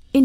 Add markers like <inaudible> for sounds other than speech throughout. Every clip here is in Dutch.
verscheen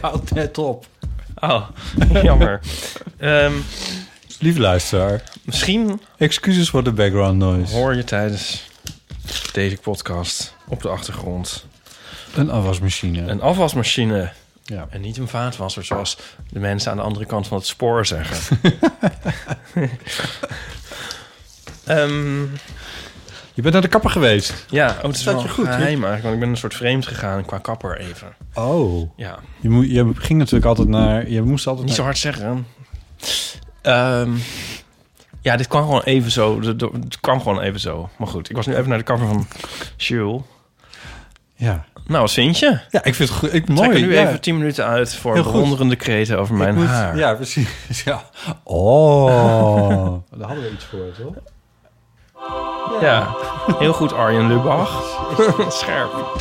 Houd net op. <laughs> Oh, jammer. Ehm, Lieve luisteraar, misschien excuses voor de background noise. hoor je tijdens deze podcast op de achtergrond Een afwasmachine. een afwasmachine. Ja. En niet een vaatwasser, zoals de mensen aan de andere kant van het spoor <laughs> zeggen. Ehm, Je bent naar de kapper geweest. ja, oh, het is Staat wel je goed, hè? geheim eigenlijk, want ik ben een soort vreemd gegaan qua kapper even. Oh. Ja, Je, moet, je ging natuurlijk altijd naar... Je moest altijd niet zo naar... hard zeggen. Ehm, ja, dit kwam gewoon even zo. De- de- Het kwam gewoon even zo. Maar goed, ik was nu even naar de cover van Jules. Ja. Nou, wat vind je? ja, ik vind het goed. Ik, Mooi, mooi. Trek er nu ja. even 10 minuten uit voor Heel goed. bewonderende kreten over mijn Ik moet- haar. <laughs> Ja, precies. Ja. Oh. Daar hadden we iets voor, toch? Ja. Heel goed, Arjen <laughs> Lubach. Scherp.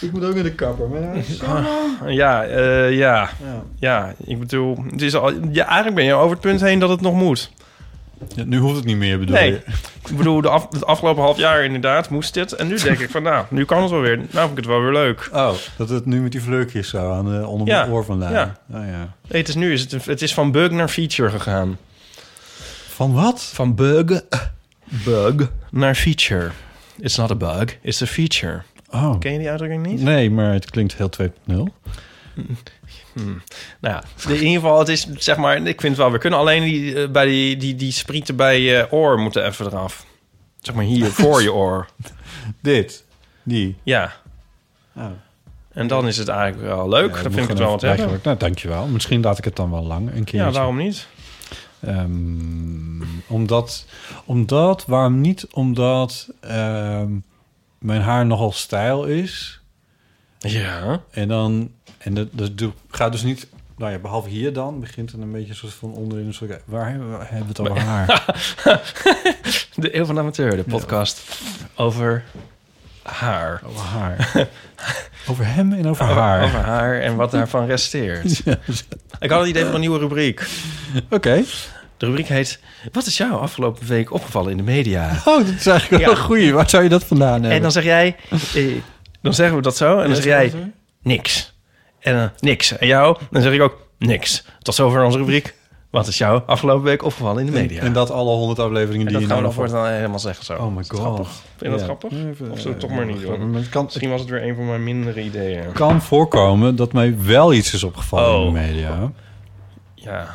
Ik moet ook naar de kapper. Maar... Ah, Ja, eh, ja, Ja. ja. Ik bedoel, het is al, ja, eigenlijk ben je over het punt heen dat het nog moet. Ja, nu hoeft het niet meer, bedoel Nee. je? Ik bedoel, de af, het afgelopen half jaar inderdaad moest dit. En nu denk ik van, nou, nu kan het wel weer. Nou vind ik het wel weer leuk. Oh. Dat het nu met die vleukjes zo aan de, onder mijn Ja. oor vandaan. Ja. Oh, ja. Nee, het is nu, is het, een- het is van bug naar feature gegaan. Van wat? Van bug, bug, naar feature. It's not a bug, it's a feature. Oh. Ken je die uitdrukking niet? Nee, maar het klinkt heel 2.0. Nou ja, in ieder geval, het is zeg maar, ik vind het wel, we kunnen alleen die, eh, bij die, die, die sprieten bij je oor moeten even eraf. Zeg maar hier, voor je oor. Dit. Die. Ja. Oh. En dan is het eigenlijk wel leuk. Ja, dan moet vind ik het wel gewoon wat even- hebben. eigenlijk- Nou, dankjewel. Misschien laat ik het dan wel lang een keer. Ja, waarom niet? Ehm, omdat, omdat, waarom niet? Omdat ehm, mijn haar nogal stijl is. Ja. En dan, en dat, dat doe- gaat dus niet, nou ja, behalve hier dan, begint het een beetje een soort van onderin. Een soort, waar hebben we waar hebben we het over <laughs> haar? De Eeuw van de Amateur, de podcast over haar. Over haar. over hem en over haar. Over haar en wat daarvan resteert. Ik had het idee van een nieuwe rubriek. <laughs> Oké. De rubriek heet... Wat is jou afgelopen week opgevallen in de media? Oh, dat is eigenlijk wel Ja. een goeie. Waar zou je dat vandaan hebben? En dan zeg jij, eh, dan zeggen we dat zo. En dan zeg jij, niks. En eh, niks. En jou, dan zeg ik ook, niks. Tot zover onze rubriek. Wat is jou afgelopen week opgevallen in de media? En, en dat alle honderd afleveringen En die dat je gaan nou we dan nog voortaan helemaal zeggen zo. Oh my Is dat grappig? god. Vind je dat grappig? Of eh, zullen we het toch maar niet doen? Het kan, het Misschien was het weer een van mijn mindere ideeën. kan voorkomen dat mij wel iets is opgevallen in de Oh. media. Ja.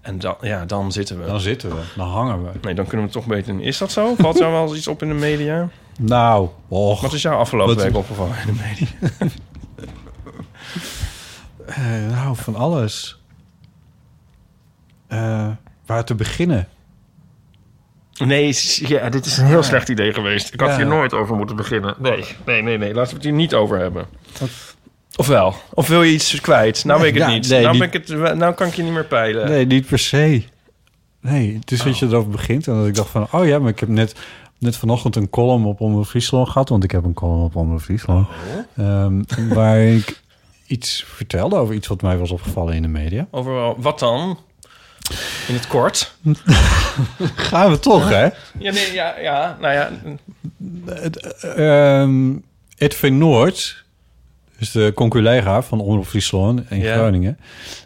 En dan, ja, dan zitten we. Dan zitten we, dan hangen we. Nee, dan kunnen we toch beter... Is dat zo? Valt jou wel eens iets op in de media? Nou, och. Wat is jou afgelopen Wat- week opgevallen in de media? Eh, nou, van alles. Eh, waar te beginnen? Nee, s- ja, dit is een heel slecht idee geweest. Ik had Ja. hier nooit over moeten beginnen. Nee, nee, nee, nee. Laten we het hier niet over hebben. Of wel? Of wil je iets kwijt? Nou weet ik het Ja, niet. nee, nou, die- ben ik het, nou kan ik je niet meer peilen. Nee, niet per se. Oh. Nee, het is dat je erover begint en dat ik dacht van... oh ja, maar ik heb net, net vanochtend een column op Omroep Friesland gehad... want ik heb een column op Omroep Friesland... Oh. ehm, waar ik iets vertelde over iets wat mij was opgevallen in de media. Overal, wat dan? In het kort? Gaan we toch, hè? Ja, nee, ja, ja. Nou ja, Ehm Edwin Noord, dus de conculega van Omroep Friesland in Ja. Groningen...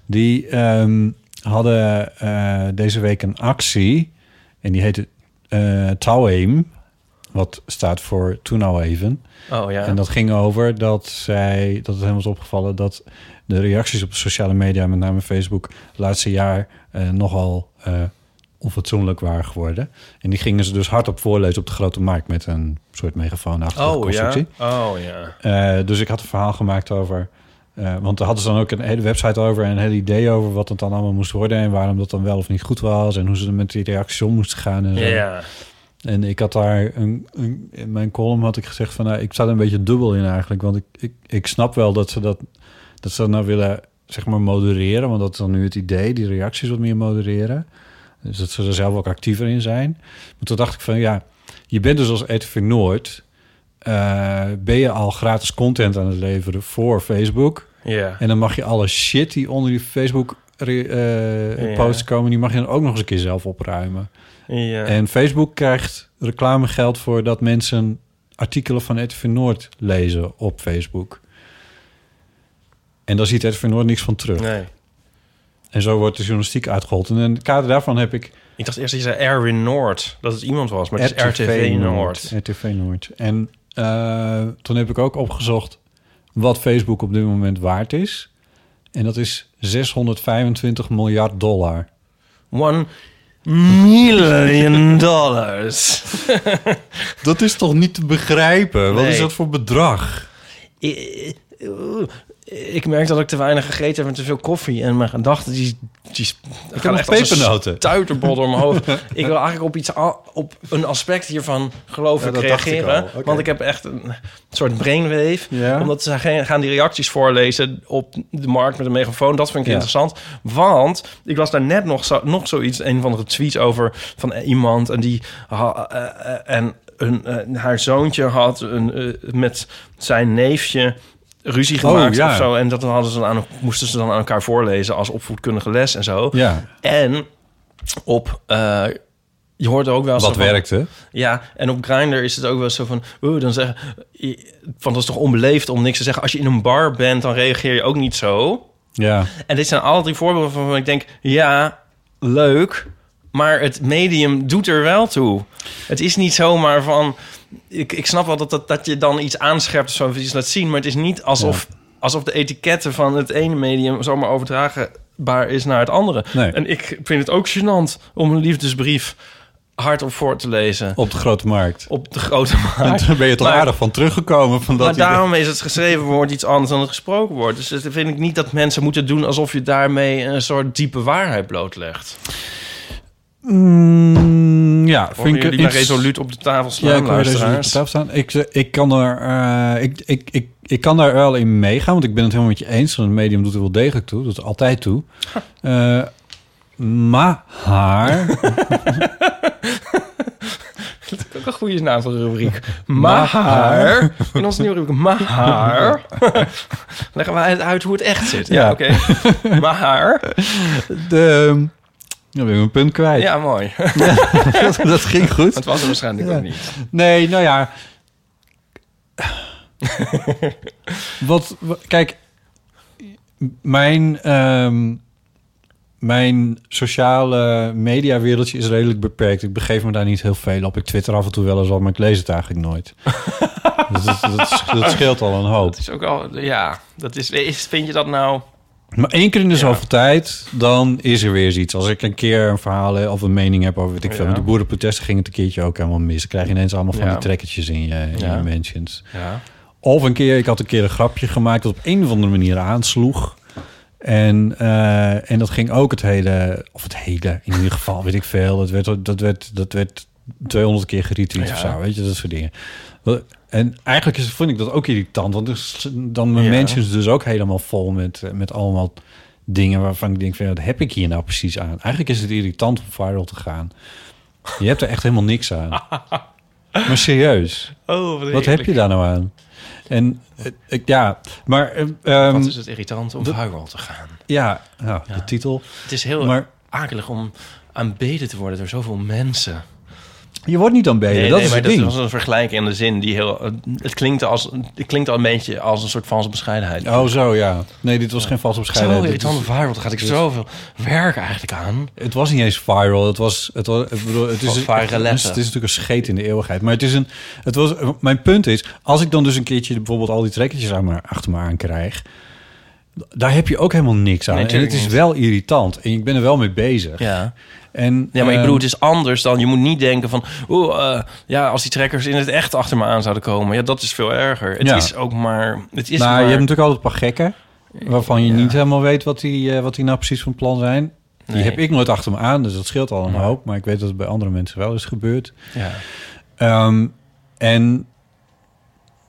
die ehm, hadden eh, deze week een actie. En die heette eh Tauheim. Wat staat voor Toen Nou Even. Oh ja. En dat ging over dat zij, dat het hem was opgevallen dat de reacties op sociale media, met name Facebook, het laatste jaar eh, nogal eh, onfatsoenlijk waren geworden. En die gingen ze dus hardop voorlezen op de grote markt met een soort megafoonachtige oh ja. constructie. Oh ja. Eh, dus ik had een verhaal gemaakt over. eh, want daar hadden ze dan ook een hele website over en een hele idee over wat het dan allemaal moest worden en waarom dat dan wel of niet goed was en hoe ze er met die reacties om moesten gaan. En zo. Ja. ja. En ik had daar een, een- in mijn column had ik gezegd van nou, ik sta er een beetje dubbel in eigenlijk. Want ik, ik, ik snap wel dat ze dat, dat ze dat nou willen zeg maar modereren. Want dat is dan nu het idee, die reacties wat meer modereren. Dus dat ze er zelf ook actiever in zijn. Maar toen dacht ik van ja, je bent dus als RTV Noord... eh, ben je al gratis content aan het leveren voor Facebook. En dan mag je alle shit die onder die Facebook re- eh, Ja. posts komen... die mag je dan ook nog eens een keer zelf opruimen. Ja. En Facebook krijgt reclamegeld voor dat mensen artikelen van RTV Noord lezen op Facebook. En daar ziet RTV Noord niks van terug. Nee. En zo wordt de journalistiek uitgehold. En in het kader daarvan heb ik Ik dacht eerst dat je zei Erwin Noord. Dat het iemand was, maar het is RTV Noord. RTV Noord. En eh, toen heb ik ook opgezocht wat Facebook op dit moment waard is. En dat is 625 miljard dollar. One million dollars. Dat is toch niet te begrijpen? Wat Nee. is dat voor bedrag? I- oeh. Ik merk dat ik te weinig gegeten heb en te veel koffie. En mijn gedachten die, die ik nog pepernoten. Tuiterbol door mijn <laughs> hoofd. ik wil eigenlijk op, iets, a- op een aspect hiervan geloof Ja, ik dat dacht ik reageren. al. Oké. Want ik heb echt een soort brainwave. Ja. Omdat ze gaan- gaan die reacties voorlezen op de markt met een megafoon. Dat vind ik Ja. interessant. Want ik was daar net nog, zo, nog zoiets, een van de tweets over van iemand. En die ha- eh, eh, en een, eh, haar zoontje had een, eh, met zijn neefje ruzie gemaakt Oh, ja. of zo. En dat hadden ze dan aan, moesten ze dan aan elkaar voorlezen als opvoedkundige les en zo. Ja, En op... eh, je hoort ook wel zo wat van- werkte? ja, en op Grindr is het ook wel zo van... oeh, dan zeggen... Van, dat is toch onbeleefd om niks te zeggen. Als je in een bar bent, dan reageer je ook niet zo. Ja. En dit zijn alle drie voorbeelden van waarvan ik denk... Ja, leuk, maar het medium doet er wel toe. Het is niet zomaar van... Ik, ik snap wel dat, dat, dat je dan iets aanscherpt of zo, of iets laat zien... maar het is niet alsof, alsof de etiketten van het ene medium... zomaar overdragenbaar is naar het andere. Nee. En ik vind het ook gênant om een liefdesbrief hardop voor te lezen Op de grote markt. op de <laughs> grote En markt. daar ben je toch Maar- aardig van teruggekomen. Van dat Maar idee. daarom is het geschreven woord iets anders dan het gesproken woord. Dus dat vind ik niet dat mensen moeten doen alsof je daarmee een soort diepe waarheid blootlegt. Mm, ja, Of jullie vind ik maar iets- resoluut op de tafel Ja, slaan, ik wil resoluut op luisteraars. tafel staan. Ik, eh, ik kan er, eh, ik, ik, ik, ik kan daar wel in meegaan, want ik ben het helemaal met je eens. Want het medium doet er wel degelijk toe, doet er <laughs> altijd toe. Eh, maar haar, Ook een goede naam voor de rubriek. Maar, in onze nieuwe rubriek, <laughs> maar, leggen wij het uit hoe het echt zit. Ja, Ja. oké. Maar, de, dan ben ik mijn punt kwijt. ja, mooi. <laughs> dat ging goed. Het was er waarschijnlijk Ja. ook niet. Nee, nou ja. wat, wa- kijk, mijn, ehm, mijn sociale mediawereldje is redelijk beperkt. Ik begeef me daar niet heel veel op. Ik twitter af en toe wel eens wat, maar ik lees het eigenlijk nooit. <laughs> dat, is- dat, is- dat scheelt al een hoop. Het is ook al, ja, dat is, is- vind je dat nou... Maar één keer in de zoveel tijd, dan is er weer eens iets. Als ik een keer een verhaal eh, of een mening heb over, weet ik veel. Ja. Met de boerenprotesten ging het een keertje ook helemaal mis. Dan krijg je ineens allemaal van Ja. die trekkertjes in je, in Ja. je mentions. Ja. Of een keer, ik had een keer een grapje gemaakt dat op een of andere manier aansloeg. En, eh, en dat ging ook het hele, of het hele in ieder geval, weet ik veel. Dat werd, dat werd, dat werd 200 keer geretweet of zo, weet je, dat soort dingen. Wel, En eigenlijk is, vond ik dat ook irritant, want dus, dan mijn Ja. mensen dus ook helemaal vol met, eh, met allemaal dingen waarvan ik denk, van, ja, wat heb ik hier nou precies aan? Eigenlijk is het irritant om viral te gaan. Je hebt er echt helemaal niks aan. Maar serieus. Oh, Wat heb je daar nou aan? En eh, ik, ja, maar eh, ehm, Wat is het irritant om viral te gaan? ja, nou, de titel. Het is heel Maar- akelig om aanbeden te worden door zoveel mensen. Je wordt niet aanbeden, Nee, dat nee, is maar het ding. dat was een vergelijking in de zin die heel... Het klinkt, als, het klinkt al een beetje als een soort valse bescheidenheid. Oh, zo ja. Nee, dit was geen valse bescheidenheid. Zo Dit irritant is- viral, daar gaat ik zoveel werk eigenlijk aan. Het was niet eens viral. Het was, het was, ik bedoel, het is, Als viraletten. het is natuurlijk een scheet in de eeuwigheid. Maar het is een, het was, mijn punt is, als ik dan dus een keertje bijvoorbeeld al die trekkertjes aan me, achter me aan krijg, daar heb je ook helemaal niks aan. Nee, en het is natuurlijk niet. wel irritant. En ik ben er wel mee bezig. Ja. En, Ja, maar ik ehm, bedoel, het is anders dan... Je moet niet denken van... Oeh, eh, ja, als die trekkers in het echt achter me aan zouden komen... Ja, dat is veel erger. Het Ja. is ook maar... Het is nou, maar... je hebt natuurlijk altijd een paar gekken. Waarvan je niet helemaal weet wat die, eh, wat die nou precies van plan zijn. Die Nee. heb ik nooit achter me aan, dus dat scheelt al een Nee. hoop. Maar ik weet dat het bij andere mensen wel is gebeurd. Ja. Ehm, en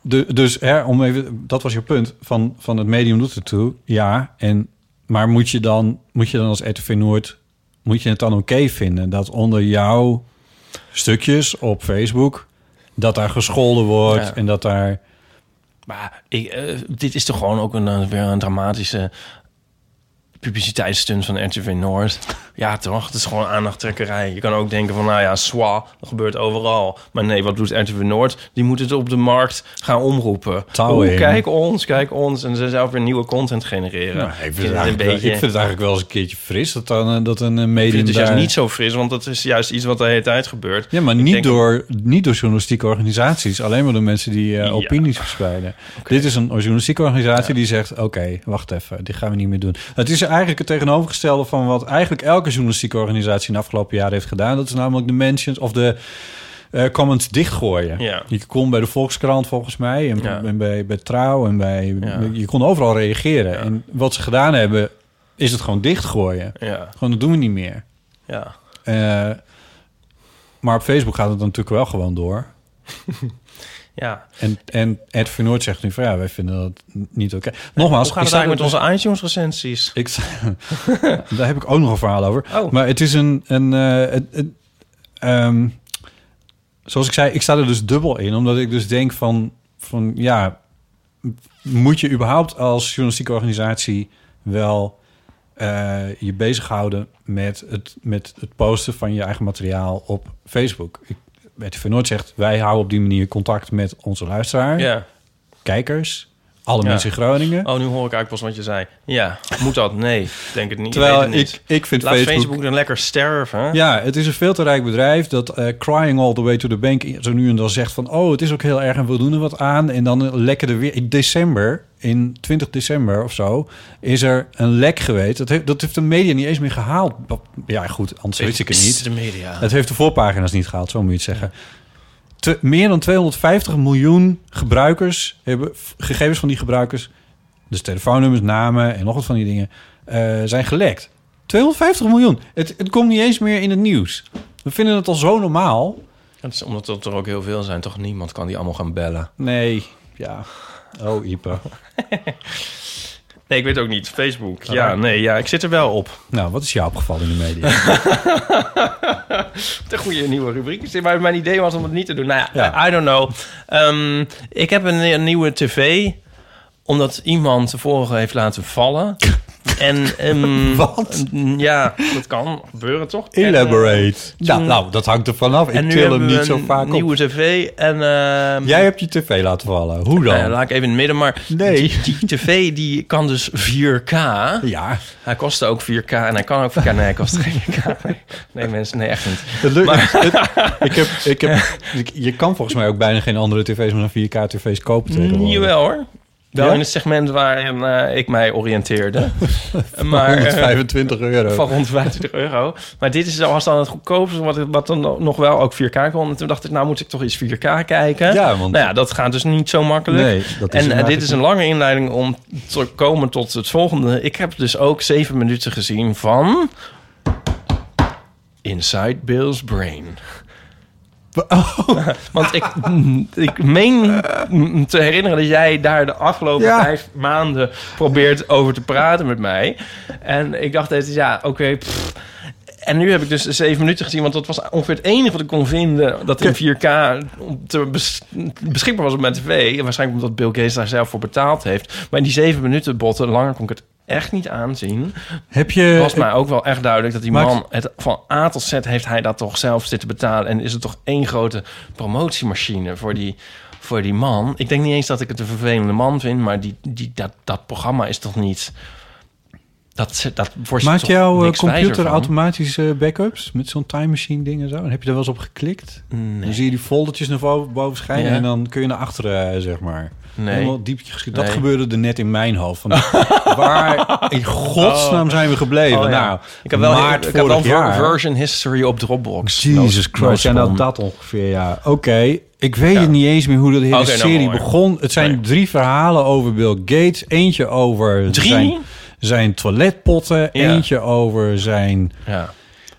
de, dus hè, om even, dat was je punt van, van het medium doet ertoe. Ja, en, maar moet je, dan, moet je dan als RTV Noord, moet je het dan oké vinden dat onder jouw stukjes op Facebook, dat daar gescholden wordt Ja. en dat daar... Maar ik, eh, dit is toch gewoon ook een, eh, weer een dramatische publiciteitsstunt van RTV Noord. Ja, toch? Het is gewoon aandachttrekkerij. Je kan ook denken van, nou ja, swa, dat gebeurt overal. Maar nee, wat doet RTV Noord? Die moet het op de markt gaan omroepen. Touw in. kijk ons, kijk ons. En ze zelf weer nieuwe content genereren. Nou, ik, vind het een eigenlijk wel- ik beetje... vind het eigenlijk wel eens een keertje fris dat, dan, eh, dat een eh, Ik medium vind het dus daar- juist niet zo fris, want dat is juist iets wat de hele tijd gebeurt. Ja, maar Ik niet denk- door, niet door journalistieke organisaties. Alleen maar door mensen die eh, opinies verspreiden. Dit is een journalistieke organisatie die zegt... oké, wacht even, dit gaan we niet meer doen. Het is eigenlijk het tegenovergestelde van wat eigenlijk elke journalistieke organisatie... in de afgelopen jaren heeft gedaan. Dat is namelijk de mentions of de eh, comments dichtgooien. Ja. Je kon bij de Volkskrant volgens mij en, Ja. en bij, bij Trouw en bij... Ja. Je kon overal reageren. En wat ze gedaan hebben, is het gewoon dichtgooien. Ja, Gewoon, dat doen we niet meer. ja. Eh, maar op Facebook gaat het dan natuurlijk wel gewoon door. ja. En, en Ed Vernoord zegt nu van ja, wij vinden dat niet oké. Nogmaals, Hoe gaat het ik sta er eigenlijk met dus- onze iTunes-recensies? ik, sta- <laughs> daar heb ik ook nog een verhaal over. Oh. Maar het is een... een eh, het- het- ehm, zoals ik zei, ik sta er dus dubbel in. Omdat ik dus denk van... van ja, m- moet je überhaupt als journalistieke organisatie... wel eh, je bezighouden met het, met het posten van je eigen materiaal op Facebook? Ik, RTV Noord zegt, wij houden op die manier contact met onze luisteraar, Ja. kijkers... Alle Ja. mensen in Groningen. Oh, nu hoor ik eigenlijk pas wat je zei. Ja, moet dat? Nee, denk het niet. Terwijl ik, weet het niet. ik, ik vind Laat Facebook... Facebook dan lekker sterven. hè? Ja, het is een veel te rijk bedrijf dat eh, crying all the way to the bank zo nu en dan zegt van... oh, het is ook heel erg en we doen er wat aan. En dan lekken er weer... In december, in 20 december of zo, is er een lek geweest. Dat heeft, dat heeft de media niet eens meer gehaald. Wat- Ja, goed, anders weet ik het Psst, niet. De media. Het heeft de voorpagina's niet gehaald, zo moet je het zeggen. Te- meer dan 250 miljoen gebruikers hebben f- gegevens van die gebruikers, dus telefoonnummers, namen en nog wat van die dingen, eh, zijn gelekt. 250 miljoen. Het, het komt niet eens meer in het nieuws. We vinden het al zo normaal. Dat is omdat dat er ook heel veel zijn. Toch niemand kan die allemaal gaan bellen. Nee, ja. Oh, Ipe. Nee, ik weet ook niet. Facebook. Ja, nee, ja, ik zit er wel op. <laughs> Nou, wat is jou opgevallen in de media? De goede nieuwe rubriek is dit, maar mijn idee was om het niet te doen. Nou ja, Ja. I don't know. Ehm, ik heb een, een nieuwe tv, omdat iemand de vorige heeft laten <laughs> vallen. en, ehm, Wat? Ja, dat kan gebeuren toch? En, eh, Elaborate. nou, nou, dat hangt er vanaf. Ik En nu til hebben hem we niet zo een vaak nieuwe op. tv en... ehm, Jij hebt je tv laten vallen. Hoe Nou ja, dan? laat ik even in het midden, maar Nee. die, die tv die kan dus 4K. Ja, Hij kostte ook 4K en hij kan ook 4K. Nee, hij kost geen 4K. Nee, nee, mensen, nee, echt niet. Het lukt- het- ik heb, <laughs> ik heb, dus ik- je kan volgens mij ook bijna geen andere tv's met een 4K-tv's kopen tegenwoordig. Jawel hoor. Wel Ja? in het segment waarin eh, ik mij <laughs> oriënteerde. maar eh, 125 euro. van rond 25 euro. Maar dit is, was dan het goedkoopste, wat, wat dan nog wel ook 4K kon. En toen dacht ik, nou moet ik toch eens 4K kijken. Ja, want- Nou ja, dat gaat dus niet zo makkelijk. Nee, dat is hem en eh, eigenlijk dit is een lange inleiding om te komen tot het volgende. Ik heb dus ook zeven minuten gezien van... Inside Bill's Brain. Want ik, ik <laughs> meen te herinneren dat jij daar de afgelopen Ja. vijf maanden probeert over te praten met mij. En ik dacht steeds, ja, oké. pff. en nu heb ik dus de zeven minuten gezien, want dat was ongeveer het enige wat ik kon vinden dat in 4K te bes- beschikbaar was op mijn tv. En waarschijnlijk omdat Bill Gates daar zelf voor betaald heeft. Maar in die zeven minuten botten, langer kon ik het echt niet aanzien. Heb je... was mij ook wel echt duidelijk dat die Maakt- man... Het, van A tot Z heeft hij dat toch zelf zitten betalen. En is het toch één grote promotiemachine voor die, voor die man. Ik denk niet eens dat ik het een vervelende man vind... maar die, die, dat, dat programma is toch niet... Dat, dat wordt je Maakt toch jouw eh, niks wijzer computer van? automatisch eh, backups met zo'n time machine ding en zo? En heb je daar wel eens op geklikt? Dan zie je die foldertjes naar boven, boven schijnen Ja. en dan kun je naar achteren, eh, zeg maar. Nee. Helemaal diepje geschieden. Dat Nee. gebeurde er net in mijn hoofd. Van, <laughs> waar in godsnaam zijn we gebleven? Oh, ja. Nou, ik heb wel maart ik heb wel vorig ver- jaar. version history op Dropbox. Jesus No- no Christ. En dat, spawn. dat ongeveer, ja. Oké, ik weet Ja. het niet eens meer hoe de hele Oké, nou, serie mooi. begon. Het zijn Nee. drie verhalen over Bill Gates. Eentje over Drie? zijn, zijn toiletpotten. Ja. Eentje over zijn... Ja.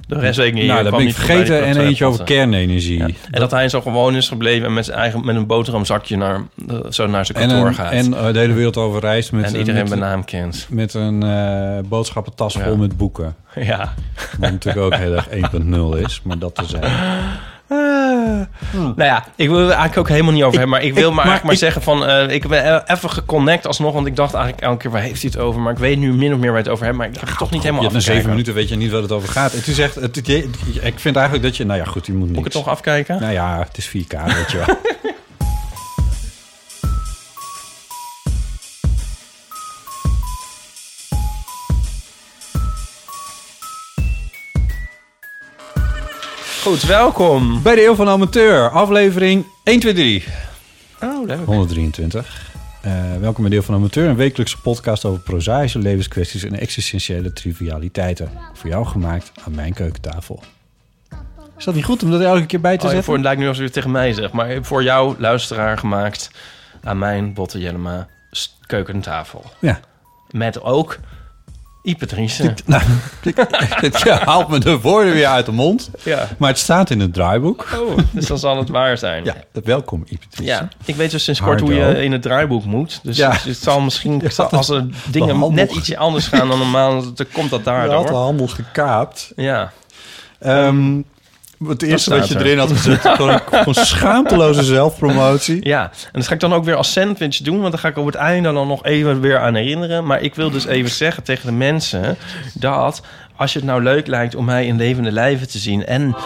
De rest weet ik niet. nou, Ik dat kwam ben ik niet voorbij die vergeten. En eentje over toiletpotten. kernenergie. Ja. En dat hij zo gewoon is gebleven en met, zijn eigen, met een boterhamzakje naar, eh, zo naar zijn En, kantoor een- gaat. en eh, de hele wereld over reist met, en iedereen bij met, naam kent. met een eh, boodschappentas Ja. vol met boeken. <laughs> Ja. Wat natuurlijk ook heel erg 1.0 is, maar dat te zijn. Nou ja, ik wil er eigenlijk ook helemaal niet over hebben. Maar ik wil ik- maar, maar eigenlijk maar zeggen van... eh, ik ben e- even geconnect alsnog. Want ik dacht eigenlijk elke keer, waar heeft hij het over? Maar ik weet nu min of meer waar het over heeft. Maar ik heb het toch niet Je helemaal hebt na afgekeken. zeven minuten weet je niet wat het over gaat. Het is echt, het, het- je- ik vind eigenlijk dat je, nou ja goed, je moet niet. Moet ik het toch afkijken? Nou ja, het is 4K, weet je wel. Goed, welkom. <laughs> Bij de Eeuw van de Amateur, aflevering 123. Oh, leuk. 123. Eh, welkom bij Deel van Amateur, een wekelijkse podcast over prozaïsche levenskwesties en existentiële trivialiteiten. Voor jou gemaakt aan mijn keukentafel. Is dat niet goed om dat elke keer bij te Oh, ja, zetten? voor, het lijkt nu alsof je het tegen mij zegt. Maar voor jou, luisteraar, gemaakt aan mijn Botte Jellema s- keukentafel. Ja. Met ook Ipe Driessen. Nou, <laughs> je haalt me de woorden weer uit de mond. <laughs> Ja. Maar het staat in het draaiboek. Oh, dus dan zal het waar zijn. Ja, welkom Ipetrice. Ja, ik weet dus sinds kort hoe Hardo. je in het draaiboek moet. Dus <laughs> Ja. het, het zal misschien, dat is als er handig. dingen net ietsje anders gaan dan normaal, dan komt dat Je had de daardoor. handel gekaapt. Ja, Ehm, het eerste staat wat je er. erin had <laughs> gezet, gewoon, gewoon schaamteloze zelfpromotie. ja. En dat ga ik dan ook weer als sandwich doen, want dan ga ik op het einde dan nog even weer aan herinneren. Maar ik wil dus even zeggen tegen de mensen dat als je het nou leuk lijkt om mij in levende lijven te zien en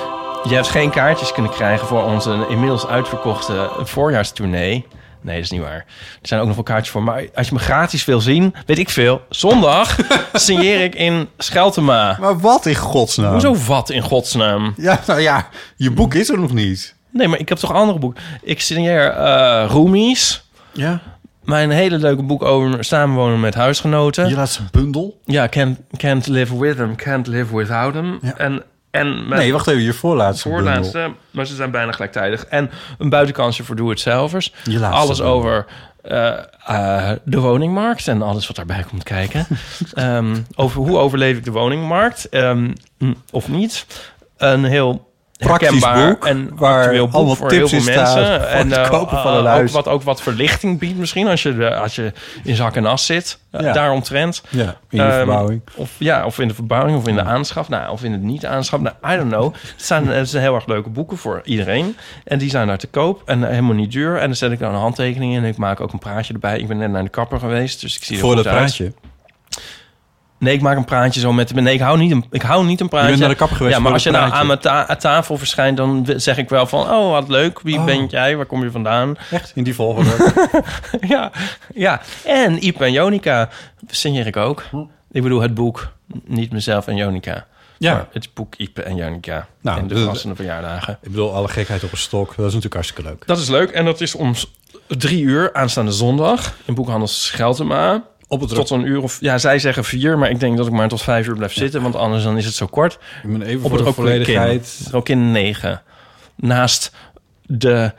je hebt geen kaartjes kunnen krijgen voor onze inmiddels uitverkochte voorjaarstournee. Nee, dat is niet waar. Er zijn ook nog wel kaartjes voor. Maar als je me gratis wil zien, weet ik veel. <laughs> Zondag signeer ik in Scheltema. Maar wat in godsnaam? Hoezo wat in godsnaam? Ja, nou ja, je boek is er nog niet. Nee, maar ik heb toch andere boeken. Ik signeer eh Roomies. Ja. Mijn hele leuke boek over samenwonen met huisgenoten. Je laatste bundel? Ja, can't, can't live with them, can't live without them. Ja. En, en mijn Nee, wacht even, je voorlaatste voorlaatste, bundel. maar ze zijn bijna gelijktijdig. En een buitenkansje voor doe-het-zelvers. Je laatste Alles bundel. over eh, eh, de woningmarkt en alles wat daarbij komt <laughs> kijken. Ehm, over hoe overleef ik de woningmarkt ehm, mm, of niet. Een heel Praktisch herkenbaar boek, en waar actueel boek allemaal voor tips heel veel in mensen. staan voor en het eh, kopen van een ook huis. wat, ook wat verlichting biedt misschien als je, de- als je in zak en as zit. eh, Ja. Daaromtrent. Ja, in je Ehm, verbouwing. Of, ja, of in de verbouwing, of in de aanschaf, nou, of in het niet-aanschaf. Nou, I don't know. Het zijn, het zijn heel erg leuke boeken voor iedereen. En die zijn daar te koop en eh, helemaal niet duur. En dan zet ik dan een handtekening in en ik maak ook een praatje erbij. Ik ben net naar de kapper geweest, dus ik zie er Voor goed dat uit. praatje. Nee, ik maak een praatje zo met... Nee, ik hou niet een, ik hou niet een praatje. bent naar de kapper geweest Ja, maar voor als je een nou praatje. aan mijn ta- aan tafel verschijnt... dan w- zeg ik wel van... Oh, wat leuk. Wie Oh. ben jij? Waar kom je vandaan? <laughs> Echt? In die volgorde. ja, ja. En Iep en Jonica signeer ik ook. Hm. Ik bedoel, het boek. Niet mezelf en Jonica. Ja. Maar het boek Ipe en Jonica. Nou, en de dat- verrassende verjaardagen. ik bedoel, alle gekheid op een stok. Dat is natuurlijk hartstikke leuk. Dat is leuk. En dat is om s- drie uur aanstaande zondag. In boekhandel Scheltema. Op het Tot een uur of... Ja, zij zeggen vier. Maar ik denk dat ik maar tot vijf uur blijf zitten. Want anders dan is het zo kort. Ik ben even Op voor het de Rokin. volledigheid. Rokin 9. Naast de...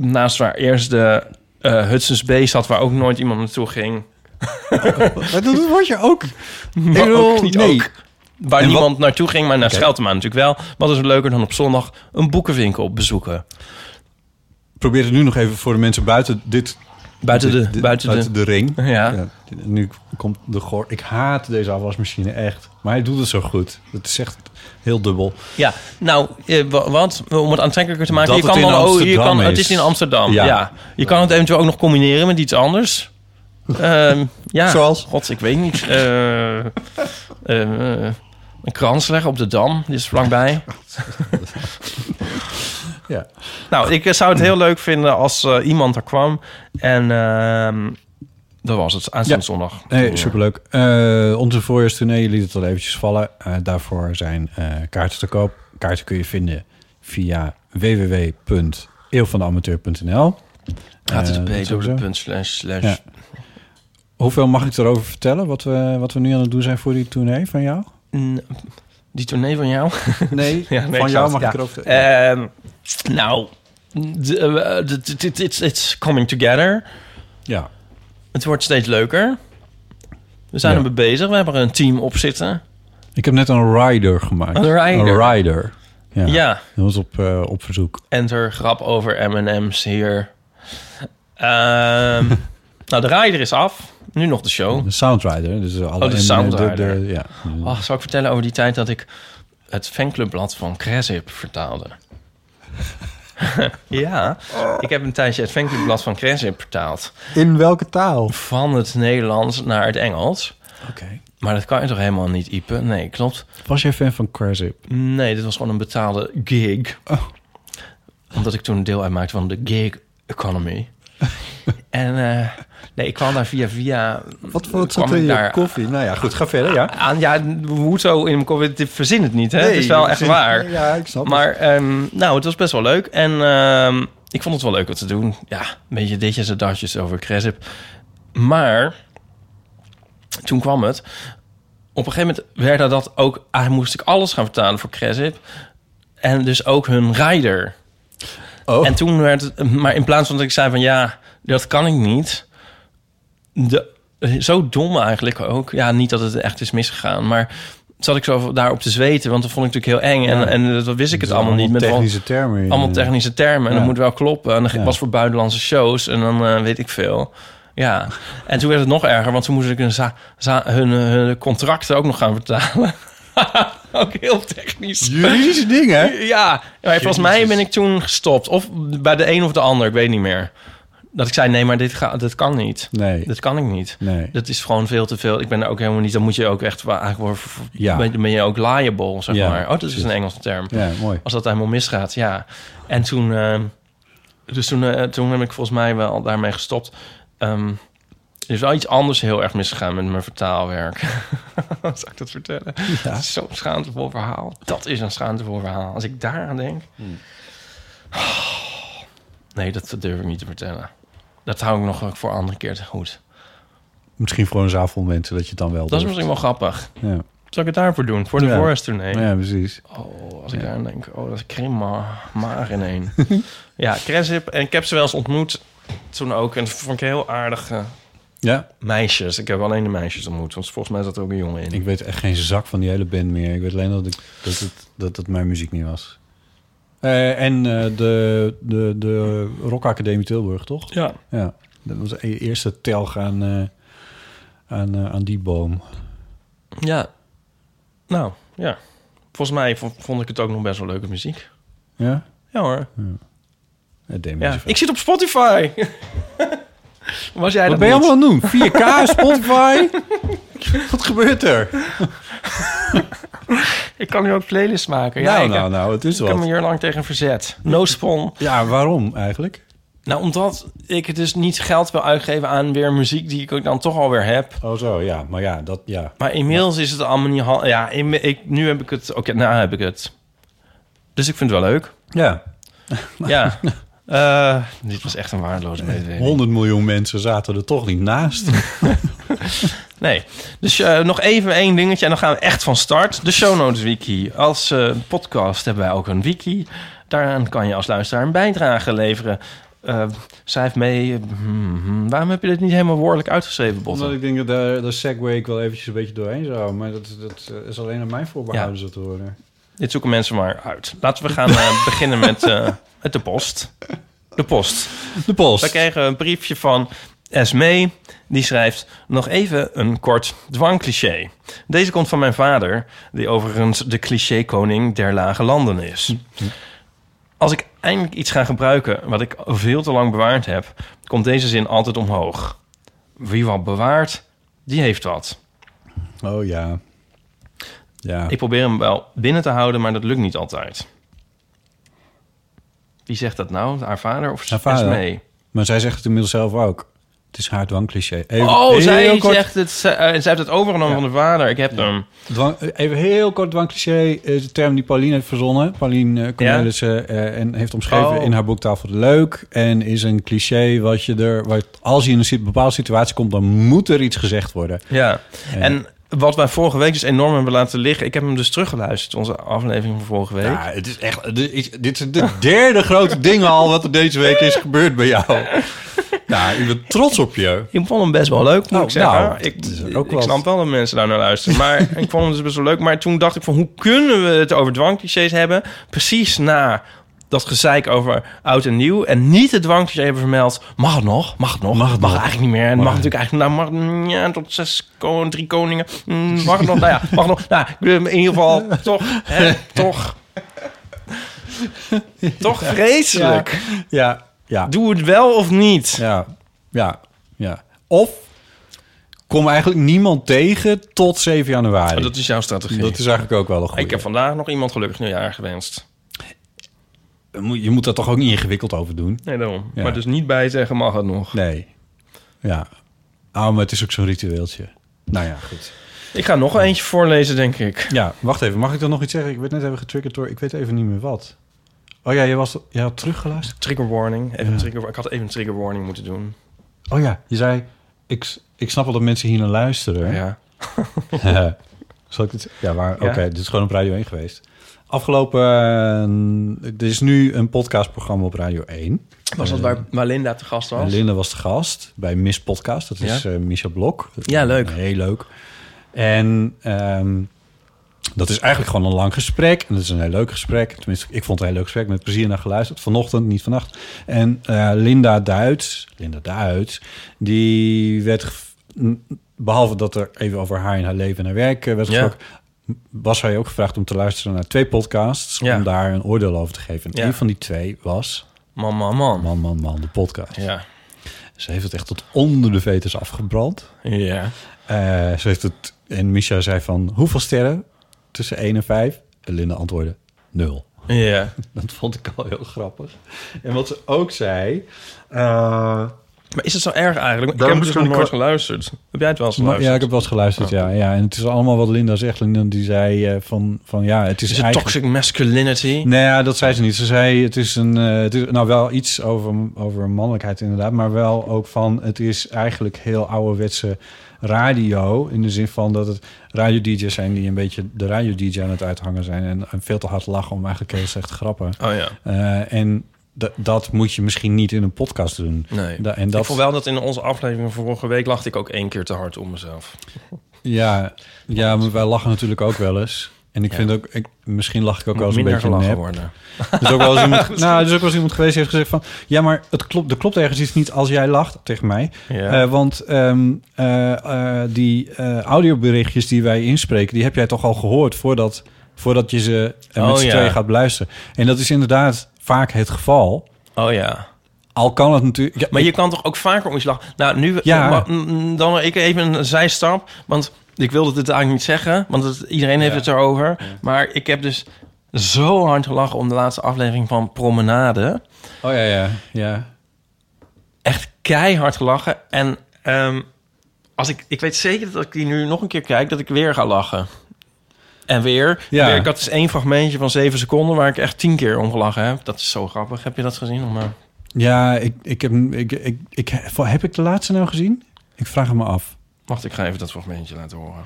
Naast waar eerst de eh Hudson's Bay zat... waar ook nooit iemand naartoe ging. Maar dat word <laughs> je ook. Maar Ik bedoel, ook niet nee. ook. Waar En niemand naartoe ging, maar naar Oké. Scheltema natuurlijk wel. Wat is er leuker dan op zondag een boekenwinkel bezoeken? Probeer het nu nog even voor de mensen buiten dit... Buiten de- dit- dit- buiten de- ring. Ja. dit- Nu komt de goor. Ik haat deze afwasmachine echt. Maar hij doet het zo goed. Het is echt heel dubbel. Ja, nou, eh, wa- wat? Om het aantrekkelijker te maken. Dat je kan het in dan, oh, je Amsterdam kan, is. Het is in Amsterdam, Ja. <laughs> ja. Je kan het eventueel ook nog combineren met iets anders. Ehm, ja. Zoals? God, ik weet niet. Eh, eh, eh, een krans leggen op de Dam. Die is <laughs> vlakbij. Ja. Nou, ik eh, zou het heel leuk vinden als eh, iemand er kwam. En ehm, dat was het. Aanstaande Ja. zondag. Nee, superleuk. Eh onze voorjaarstournee, je liet het al eventjes vallen. Eh, daarvoor zijn eh, kaarten te koop. Kaarten kun je vinden via www.eeuwvandeamateur.nl. Eh, dat sowieso. http://slash. Ja. Hoeveel mag ik erover vertellen? Wat we, wat we nu aan het doen zijn voor die tournee van jou? Die tournee van jou? <laughs> Nee, Ja, nee, van ik jou zou mag het- ik erover vertellen. Ehm, nou, d- eh, d- d- d- it's, it's coming together. ja. Het wordt steeds leuker. We zijn Ja. ermee bezig. We hebben er een team op zitten. Ik heb net een rider gemaakt. Een rider. Een rider. Ja. Ja. Dat was op, eh, op verzoek. Enter grap over M&M's hier. Ehm, <laughs> nou, de rider is af. Nu nog de show. De soundrider. Dus alle Oh, de en- soundrider. ja. Oh, zal ik vertellen over die tijd dat ik het fanclubblad van Cresip <laughs> vertaalde? <laughs> ja, ik heb een tijdje het fanclubblad van Cresip vertaald. In welke taal? Van het Nederlands naar het Engels. Oké. Maar dat kan je toch helemaal niet, Ipe? Nee, klopt. Was jij fan van Crazy? Nee, dit was gewoon een betaalde gig. Oh. Omdat ik toen deel uitmaakte van de gig <laughs> economy. en eh, nee, ik kwam daar via via... Wat voor het kwam zat er in ik je daar koffie? Nou ja, goed, ga verder, ja. Aan, ja, hoezo in mijn COVID, dit verzin het niet, hè? het is wel echt zin- waar. Ja, ik snap het. Maar ehm, nou, het was best wel leuk. En ehm, ik vond het wel leuk wat te doen. Ja, een beetje ditjes en datjes over Cresip. Maar toen kwam het. Op een gegeven moment werd er dat ook... Ah, moest ik alles gaan vertalen voor Cresip. En dus ook hun rider. Oh. En toen werd het... Maar in plaats van dat ik zei van... Ja, dat kan ik niet. De, zo dom eigenlijk ook. Ja, niet dat het echt is misgegaan. Maar zat ik zo daarop te zweten. Want dat vond ik natuurlijk heel eng. En, en dat wist ik het allemaal niet. Met wel- Dus technische termen. eh, allemaal technische termen. En Ja. dat moet wel kloppen. En dat Ja. was voor buitenlandse shows. En dan eh, weet ik veel. Ja. En toen werd het nog erger. Want toen moest ik hun, za- za- hun, eh, hun contracten ook nog gaan vertalen. <laughs> ook heel technisch. Juridische <laughs> dingen. Ja, maar volgens mij ben ik toen gestopt. Of bij de een of de ander, ik weet niet meer. Dat ik zei, nee, maar dit, ga, dit kan niet. Nee. Dat kan ik niet. Nee. Dat is gewoon veel te veel. Ik ben er ook helemaal niet... Dan moet je ook echt... wa- Eigenlijk worden ver- Ja. ben, ben je ook liable, zeg Ja, maar. Oh, dat is precies. een Engelse term. Ja, mooi. Als dat helemaal misgaat, ja. En toen... eh, dus toen, eh, toen heb ik volgens mij wel daarmee gestopt. Ehm, er is wel iets anders heel erg misgegaan met mijn vertaalwerk. <laughs> Zal ik dat vertellen? Dat is zo'n schaamtevol verhaal. Dat is een schaamtevol verhaal. Als ik daaraan denk... Hmm. <sighs> Nee, dat durf ik niet te vertellen. Dat hou ik nog voor een andere keer te goed. Misschien voor een zaal vol mensen dat je het dan Dat wel is durft. misschien wel grappig. Ja. Zal ik het daarvoor doen? Voor de Ja. voorjaarstournee? ja, precies. Oh, als ik daar aan denk, oh, dat krimp maar, maar in <laughs> één. ja, Cresip. En ik heb ze wel eens ontmoet toen ook. En dat vond ik heel aardige Ja, meisjes. Dus Ik heb alleen de meisjes ontmoet, want volgens mij zat er ook een jongen in. ik weet echt geen zak van die hele band meer. Ik weet alleen dat ik, dat, het, dat het mijn muziek niet was. Eh, en eh, de, de, de Rock Academie Tilburg, toch? Ja. Ja, dat was e eerste telg aan, eh, aan, eh, aan die boom. Ja. Nou, ja. Volgens mij vo- vond ik het ook nog best wel leuke muziek. Ja? Ja hoor. Het deed me Ja. niet zoveel. Ik zit op Spotify. <laughs> Was jij Wat dat ben je niet? allemaal aan het doen? 4K, <laughs> Spotify? Wat gebeurt er? Ik kan nu ook playlists maken. Ja, nou, ik, nou, nou, het is ik heb me wat. hier lang tegen verzet. No spon. Ja, waarom eigenlijk? Nou, omdat ik dus niet geld wil uitgeven aan weer muziek die ik ook dan toch alweer heb. Oh zo, ja. Maar ja, dat, ja. Maar inmiddels is het allemaal niet... hal- Ja, in- ik, nu heb ik het... Oké, nou heb ik het. Dus ik vind het wel <laughs> leuk. Ja, Ja. Eh, dit was echt een waardeloze mededeling. 100 miljoen mensen zaten er toch niet naast. <laughs> Nee. Dus eh, nog even één dingetje en dan gaan we echt van start. De Show Notes Wiki. Als eh, podcast hebben wij ook een wiki. Daaraan kan je als luisteraar een bijdrage leveren. Eh, schrijf mee... hmm, hmm. waarom heb je dit niet helemaal woordelijk uitgeschreven, Botten? Omdat ik denk dat de, de segway ik wel eventjes een beetje doorheen zou. Maar dat, dat eh, is alleen aan mij voorbehouden, zo te horen. Dit zoeken mensen maar uit. Laten we gaan eh, beginnen met, <laughs> eh, met de post. De post. De post. We kregen een briefje van Esme. Die schrijft nog even een kort dwangcliché. Deze komt van mijn vader, die overigens de cliché-koning der lage landen is. Hm, Als ik eindelijk iets ga gebruiken wat ik veel te lang bewaard heb, komt deze zin altijd omhoog. wie wat bewaart, die heeft wat. Oh ja. Ja. Ik probeer hem wel binnen te houden, maar dat lukt niet altijd. Wie zegt dat nou? Haar vader of Haar vader. Esmee? Maar zij zegt het inmiddels zelf ook. Het is haar dwangcliché. Even, Oh, heel zij kort, zegt het. Zij, eh, zij heeft het overgenomen van de vader. Ik heb hem. dwang- even heel kort dwangcliché. eh, De term die Pauline heeft verzonnen. Pauline eh, Cornelissen. eh, en heeft omschreven Oh. in haar boek Tafel de Leuk. En is een cliché wat je er... Wat, als je in een si- bepaalde situatie komt, dan moet er iets gezegd worden. Ja. En wat wij vorige week dus enorm hebben laten liggen. Ik heb hem dus teruggeluisterd, onze aflevering van vorige week. Ja, het is echt... Dit is, dit is de <laughs> derde grote ding al wat er deze week is gebeurd bij <laughs> jou. Ja, ik ben trots op je. Ik vond hem best wel leuk, moet Oh, ik zeggen. nou, ik dat is ook ik wel- snap wel dat mensen daar naar luisteren. <laughs> Maar ik vond hem dus best wel leuk. Maar toen dacht ik van, hoe kunnen we het over dwangclichés hebben? Precies na dat gezeik over oud en nieuw. En niet het dwangcliché hebben vermeld. Mag het nog? Mag het nog? Mag, eigenlijk niet meer. En mag natuurlijk eigenlijk... Nou, mag mm, ja, tot zes, kon, drie koningen. Mm, mag het nog? Nou ja, mag nog. Nou, ik wil hem in ieder <laughs> geval toch, hè, toch... Toch vreselijk. Ja, ja. Doe het wel of niet. Ja, ja, ja. Of kom eigenlijk niemand tegen tot 7 januari. Dat is jouw strategie. Oh, Dat is eigenlijk ook wel een goede. Ik heb vandaag nog iemand gelukkig nieuwjaar gewenst. Je moet daar toch ook niet ingewikkeld over doen? Nee, daarom. Ja. Maar dus niet bij zeggen mag het nog. Nee. Ja. Ah, maar het is ook zo'n ritueeltje. Nou ja, goed. Ik ga nog eentje voorlezen, denk ik. Ja, wacht even. Mag ik dan nog iets zeggen? Ik werd net even getriggerd door... Ik weet even niet meer wat. Oh ja, je, was, je had teruggeluisterd? Trigger warning. Even een trigger, ik had even een trigger warning moeten doen. Oh ja, je zei... Ik, ik snap wel dat mensen hier naar luisteren. Ja. Ja. <laughs> Zal ik het? Ja, maar oké, Ja. dit is gewoon op Radio 1 geweest. Afgelopen, eh, er is nu een podcastprogramma op Radio 1. Was dat waar, waar Linda te gast was? Linda was de gast bij Miss Podcast. Dat is Ja. eh, Misha Blok. Ja, leuk. Heel leuk. En ehm, dat is eigenlijk gewoon een lang gesprek. En dat is een heel leuk gesprek. Tenminste, ik vond het een heel leuk gesprek. Met plezier naar geluisterd. Vanochtend, niet vannacht. En eh, Linda Duits, Linda Duits, die werd... gev- n- Behalve dat er even over haar en haar leven en haar werk eh, werd Ja. gesproken... was zij ook gevraagd om te luisteren naar twee podcasts... Ja. om daar een oordeel over te geven. En Ja. een van die twee was... Man, man, man. Man, man, man, de podcast. Ja. Ze heeft het echt tot onder de veters afgebrand. Ja. Eh, ze heeft het, en Misha zei van, hoeveel sterren? Tussen 1 en 5. En Linda antwoordde, 0. Ja. Dat vond ik al heel grappig. En wat ze ook zei... eh, Maar is het zo erg eigenlijk? Ik Daar heb het moet dus ik nog nooit wel- geluisterd. Heb jij het wel eens maar- ja, geluisterd? ik heb wel eens geluisterd, ja. ja. En het is allemaal wat Linda zegt. Linda die zei eh, van, van, ja, het is, Is het eigenlijk... toxic masculinity? Nee, ja, dat zei ze niet. Ze zei, het is een, eh, het is, nou wel iets over, over mannelijkheid inderdaad, maar wel ook van, het is eigenlijk heel ouderwetse radio, in de zin van dat het radio-dj's zijn die een beetje de radio-dj aan het uithangen zijn en, en veel te hard lachen om eigenlijk heel slechte grappen. Oh ja. Eh, en d- dat moet je misschien niet in een podcast doen. Nee. Da- en Ik dat, vond wel dat in onze aflevering van vorige week lachte ik ook één keer te hard om mezelf. ja, ja, maar wij lachen natuurlijk ook wel eens. En ik Ja. vind ook, ik, misschien lach ik ook wel eens een minder beetje gelachen nep. worden. Dus ook wel eens <laughs> iemand, nou, dus ook wel eens iemand geweest die heeft gezegd van... ja, maar het klopt, er klopt ergens iets niet als jij lacht tegen mij. Ja. Eh, want ehm, eh, eh, die eh, audioberichtjes die wij inspreken... die heb jij toch al gehoord voordat, voordat je ze eh, met Oh, z'n ja. tweeën gaat beluisteren. En dat is inderdaad vaak het geval. Oh ja. Al kan het natuurlijk... Ja, Maar je kan toch ook vaker om iets lachen? Nou, nu... Ja. maar, mm, dan ik even een zijstap. Want ik wilde dit eigenlijk niet zeggen. Want het, iedereen heeft het erover. Maar ik heb dus zo hard gelachen om de laatste aflevering van Promenade. oh ja, ja, ja. Echt keihard gelachen. En ehm, als ik, ik weet zeker dat ik die nu nog een keer kijk... dat ik weer ga lachen. En weer. Ja. Ja. weer. Ik had dus één fragmentje van zeven seconden... waar ik echt tien keer om gelachen heb. Dat is zo grappig. Heb je dat gezien? eh, Maar... Ja, ik, ik heb... Ik, ik, ik, heb ik de laatste nou gezien? Ik vraag het me af. Wacht, ik ga even dat fragmentje laten horen.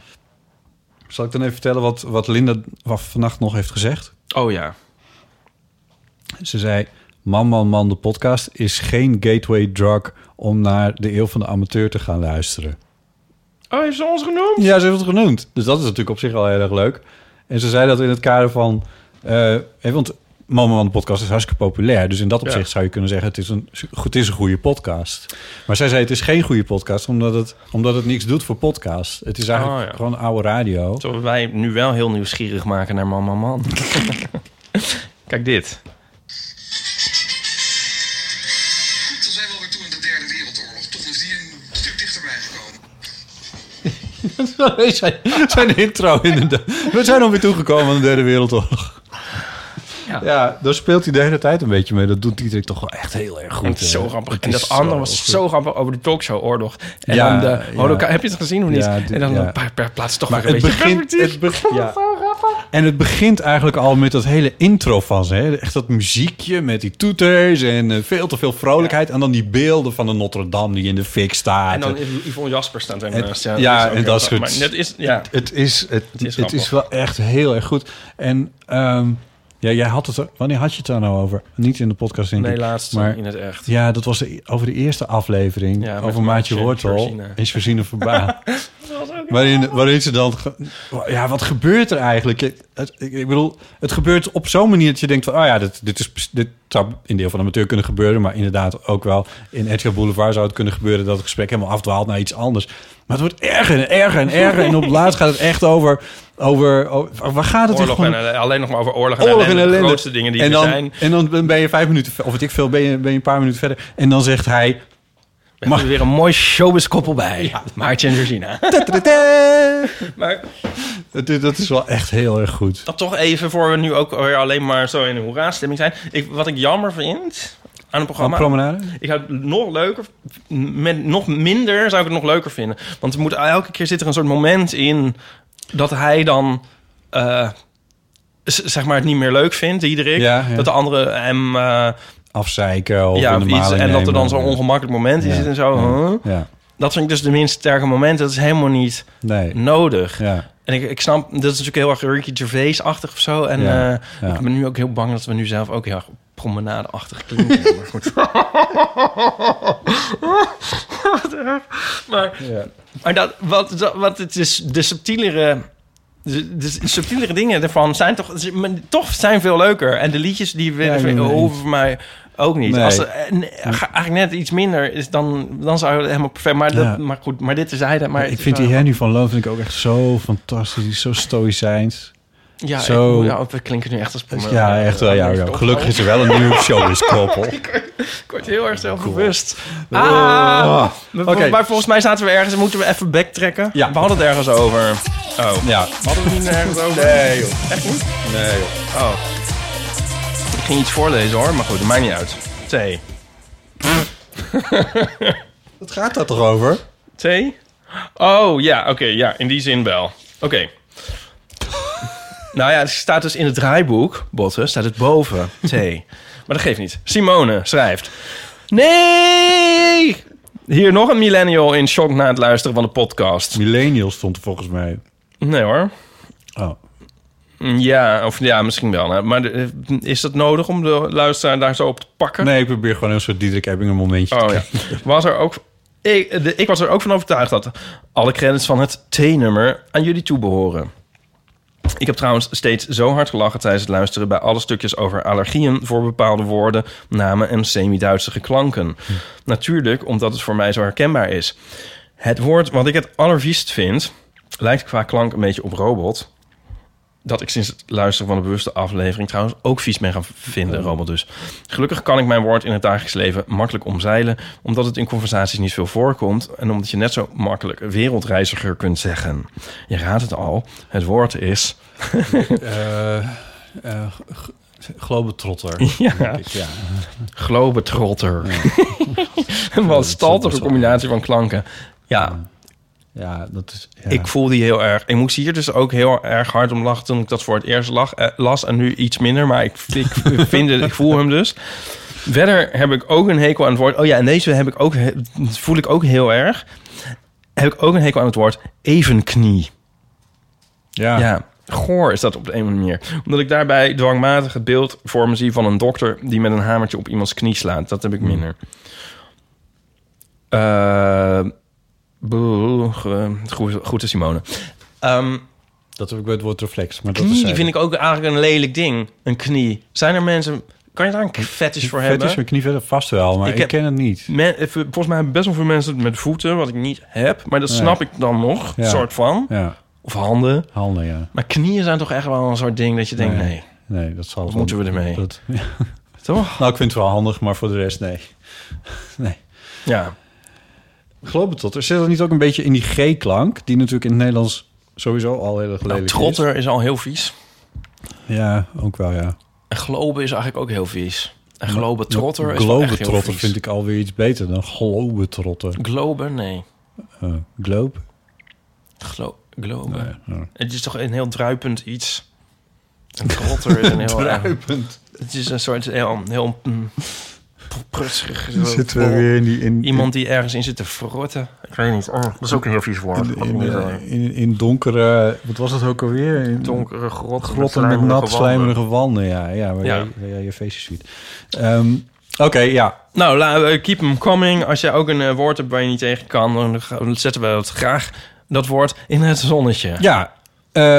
Zal ik dan even vertellen wat, wat Linda wat vannacht nog heeft gezegd? Oh ja. Ze zei: Man, man, man, de podcast is geen gateway drug om naar de eeuw van de amateur te gaan luisteren. Oh, heeft ze ons genoemd? Ja, ze heeft het genoemd. Dus dat is natuurlijk op zich al heel erg leuk. En ze zei dat in het kader van. eh, hè, want Man, man, man, de podcast is hartstikke populair. Dus in dat opzicht zou je kunnen zeggen: het is, een, het is een goede podcast. Maar zij zei: het is geen goede podcast, omdat het, omdat het niks doet voor podcast. Het is eigenlijk Oh, ja. gewoon oude radio. Zullen wij nu wel heel nieuwsgierig maken naar Mama <laughs> Man? Kijk dit. Goed, dan zijn we alweer toe in de derde wereldoorlog. Toch is die een stuk dichterbij zijn, zijn intro inderdaad. We zijn alweer toegekomen aan de derde wereldoorlog. Ja. daar speelt hij de hele tijd een beetje mee. Dat doet Dietrich toch wel echt heel erg goed. En eh, het is hè? zo grappig. Het En is dat andere was goed. zo grappig over de talkshow-oorlog. En Ja, dan ja. de holocaust. Heb je het gezien of niet? Ja, dit- en dan ja. een paar per plaats toch Maar weer een het beetje begint, perspectief. het <laughs> begint, ja. En het begint eigenlijk al met dat hele intro van ze. Hè? Echt dat muziekje met die toeters en eh, veel te veel vrolijkheid. En dan die beelden van de Notre-Dame die in de fik staat. En dan is Yvonne Jasper staat Het- ernaast. ja, is ook en heel dat is grappig. goed. Maar dat is, ja. Het is, het, Het is het is, grappig. wel echt heel erg goed. En ehm, ja, jij had het er, wanneer had je het daar nou over? Niet in de podcast, denk Nee, ik. laatst maar- in het echt. Ja, dat was de- e-, over de eerste aflevering. Ja, met over Maatje Maatje Wortel Georgina. en <laughs> Georgina Verbaan. waarin, waarin ze dan... ge- Ja, wat gebeurt er eigenlijk? Het- het- ik ik bedoel, het gebeurt op zo'n manier dat je denkt van... Oh ja, dit, dit, is, dit zou in deel van de amateur kunnen gebeuren. Maar inderdaad ook wel in Edgar Boulevard zou het kunnen gebeuren... dat het gesprek helemaal afdwaalt naar iets anders. Maar het wordt erger en erger en erger. en op het laatst gaat het echt over... over, over waar gaat het in Oorlog godsnaam- en, eh, alleen nog maar over oorlog en oorlog en ellende. ellende. De grootste dingen die en er dan, zijn. En dan ben je vijf minuten, ver- of weet ik veel, ben je, ben je een paar minuten verder. En dan zegt hij... We hebben Mag- weer een mooi showbiz-koppel bij. Maartje en Georgina. "Tadadada." <laughs> maar dat, is- dat is wel echt heel erg goed. dat toch even voor we nu ook weer alleen maar zo in een hoera-stemming zijn. Ik, wat ik jammer vind aan het Van programma... promenade? Ik zou het nog leuker, met nog minder zou ik het nog leuker vinden. Want er moet, elke keer zit er een soort moment in dat hij dan, eh, z- zeg maar, het niet meer leuk vindt, Diederik. Ja, ja. Dat de andere hem, eh, Afzeiken of ja, in of de iets, maling en dat er dan nemen. zo'n ongemakkelijk moment Ja, is en zo. huh? Ja, Dat vind ik dus de minst sterke moment. Dat is helemaal niet nee. nodig. Ja, En ik, ik snap, dat is natuurlijk heel erg Ricky Gervais-achtig of zo. En Ja, eh, ja. ik ben nu ook heel bang dat we nu zelf ook heel erg promenade-achtig <laughs> klinken. maar goed. Wat erg. maar ja. maar dat, wat, dat, wat het is, de subtielere... De, de subtielere dingen ervan zijn toch, ze- men- toch zijn veel leuker. En de liedjes die we, Ja, ik ben het hoeven voor mij ook niet. Nee. Als er, eh, nee, ga- eigenlijk net iets minder is, dan, dan zou het helemaal perfect. Maar, dat, Ja. maar goed, maar dit is hij. Maar Maar het ik is vind die wel- Henny van Loon vind ik ook echt zo fantastisch. Die is zo stoïcijns. Ja, Zo. ik- ja, we klinken nu echt als Dus promo- ja, echt wel. eh, Ja, ja. toch? Gelukkig is er wel een nieuw showbiz-koppel. <laughs> Ik word heel erg zelfbewust. Ah, we- Oké. Maar volgens mij zaten we ergens... Moeten we even backtracken? Ja. We hadden het ergens over. Oh. Ja. Hadden we het niet ergens over? Nee, joh. Echt niet? Nee, joh. Oh. Ik ging iets voorlezen, hoor. Maar goed, dat maakt niet uit. Thee. Wat gaat dat toch over? Thee? Oh, ja, oké. ja, in die zin wel. Oké. nou ja, het staat dus in het draaiboek, Botten, staat het boven thee. maar dat geeft niet. Simone schrijft... Nee! Hier nog een millennial in shock na het luisteren van de podcast. Millennial stond er volgens mij. Nee hoor. Oh. Mm, Ja, of ja, misschien wel. hè. Maar eh, is dat nodig om de luisteraar daar zo op te pakken? Nee, ik probeer gewoon een soort Diederik Ebbing een momentje te Oh <laughs> ja. Was er ook. Ik, de- ik was er ook van overtuigd dat alle credits van het T-nummer aan jullie toebehoren. Ik heb trouwens steeds zo hard gelachen tijdens het luisteren bij alle stukjes over allergieën voor bepaalde woorden, namen en semi-Duitse klanken. Natuurlijk omdat het voor mij zo herkenbaar is. Het woord wat ik het allerviest vind, lijkt qua klank een beetje op robot. Dat ik sinds het luisteren van de bewuste aflevering trouwens ook vies ben gaan vinden, robot dus. Gelukkig kan ik mijn woord in het dagelijks leven makkelijk omzeilen, omdat het in conversaties niet veel voorkomt en omdat je net zo makkelijk wereldreiziger kunt zeggen. Je raadt het al, het woord is. Eh, Globetrotter. Ja, Ja. globetrotter. <laughs> Wat een staltige combinatie van klanken. Ja, ja, dat is... ja. ik voel die heel erg. Ik moest hier dus ook heel erg hard om lachen toen ik dat voor het eerst lag, eh, las en nu iets minder, maar ik, ik, vind het, ik voel hem dus. Verder heb ik ook een hekel aan het woord. Oh ja, en deze heb ik ook, he- voel ik ook heel erg. Heb ik ook een hekel aan het woord evenknie. Ja. Ja, goor is dat op de een of andere manier. Omdat ik daarbij dwangmatig het beeld voor me zie van een dokter die met een hamertje op iemands knie slaat. Dat Hmm. heb ik minder. Eh, boe, ge- goed, goed is Simone. Ehm, Dat heb ik bij het woord reflex. Maar dat is knie vind ik ook eigenlijk een lelijk ding. Een knie. Zijn er mensen... Kan je daar een fetish voor hebben? Vet is mijn knie verder vast wel, maar Ik ik, heb- ken het niet. Men- eh, volgens mij hebben best wel veel mensen het met voeten, wat ik niet heb. Maar dat Nee. snap ik dan nog, Ja. soort van. Ja, Of handen. handen, ja. Maar knieën zijn toch echt wel een soort ding dat je denkt, Nee. nee. Nee, dat zal... Wat wel- moeten we ermee? <laughs> Dat, Toch? Nou, ik vind het wel handig, maar voor de rest nee. Ja. Globetrotter. Zit dat niet ook een beetje in die G-klank? Die natuurlijk in het Nederlands sowieso al heel erg Nou, lelijk trotter is al heel vies. is. Ja, ook wel, ja. En globe is eigenlijk ook heel vies. En Nou, globe trotter is wel echt heel Globetrotter vies. vind ik alweer iets beter dan globetrotter. Globe, nee. Eh, globe? Glo globe. Nee, ja. Het is toch een heel druipend iets. Een trotter <laughs> is een heel... eh, Druipend. Het is een soort heel... heel mm, prutsig. <laughs> Zitten we weer in die... In, Iemand die ergens in zit te verrotten. Ik weet niet. Oh, dat is ook een heel vies woord. in, in, eh, in, in donkere... Wat was het ook alweer? In Donkere grot, grotten met nat slijmerige wanden. Ja, ja waar, Ja. Jij, waar jij je feestjes viert. Ehm, Oké, ja. Nou, la- eh, keep them coming. Als jij ook een eh, woord hebt waar je niet tegen kan, dan ga- dan zetten we dat graag, dat woord, in het zonnetje. Ja.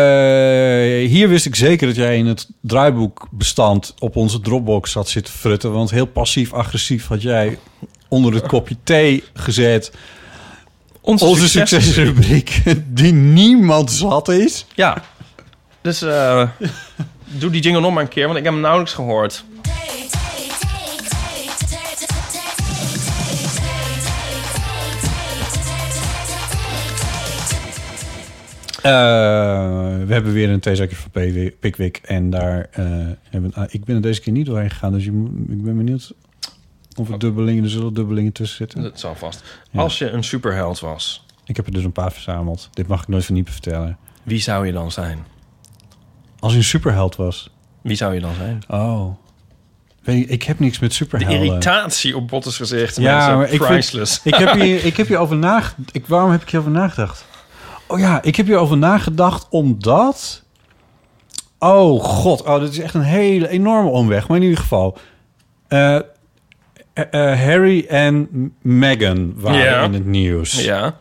Eh, hier wist ik zeker dat jij in het draaiboekbestand op onze Dropbox zat zitten frutten. Want heel passief-agressief had jij onder het kopje thee gezet. Onze, Onze succes. succesrubriek, <laughs> die niemand zat is. Ja. Dus eh, doe die jingle nog maar een keer, want ik heb hem nauwelijks gehoord. Eh, we hebben weer een theezakje van Pi- Pickwick. En daar eh, hebben ah, ik ben er deze keer niet doorheen gegaan. Dus je, moet- ik ben benieuwd of er dubbelingen, er zullen dubbelingen tussen zitten. Dat zal vast. Als je een superheld was, Ik heb er dus een paar verzameld. Dit mag ik nooit van Niepen vertellen. wie zou je dan zijn? Als hij een superheld was. Wie zou je dan zijn? Oh. Weet ik, ik heb niks met De superhelden. irritatie op Bottes gezicht. ja, mensen. maar ik, priceless. vind- ik heb hier, ik heb hier over nagedacht. Ik, waarom heb ik hierover nagedacht? Oh ja, ik heb hierover nagedacht omdat... Oh god, oh, dit is echt een hele enorme omweg. Maar in ieder geval... eh, eh, eh, Harry en Meghan waren Ja. in het nieuws. Ja,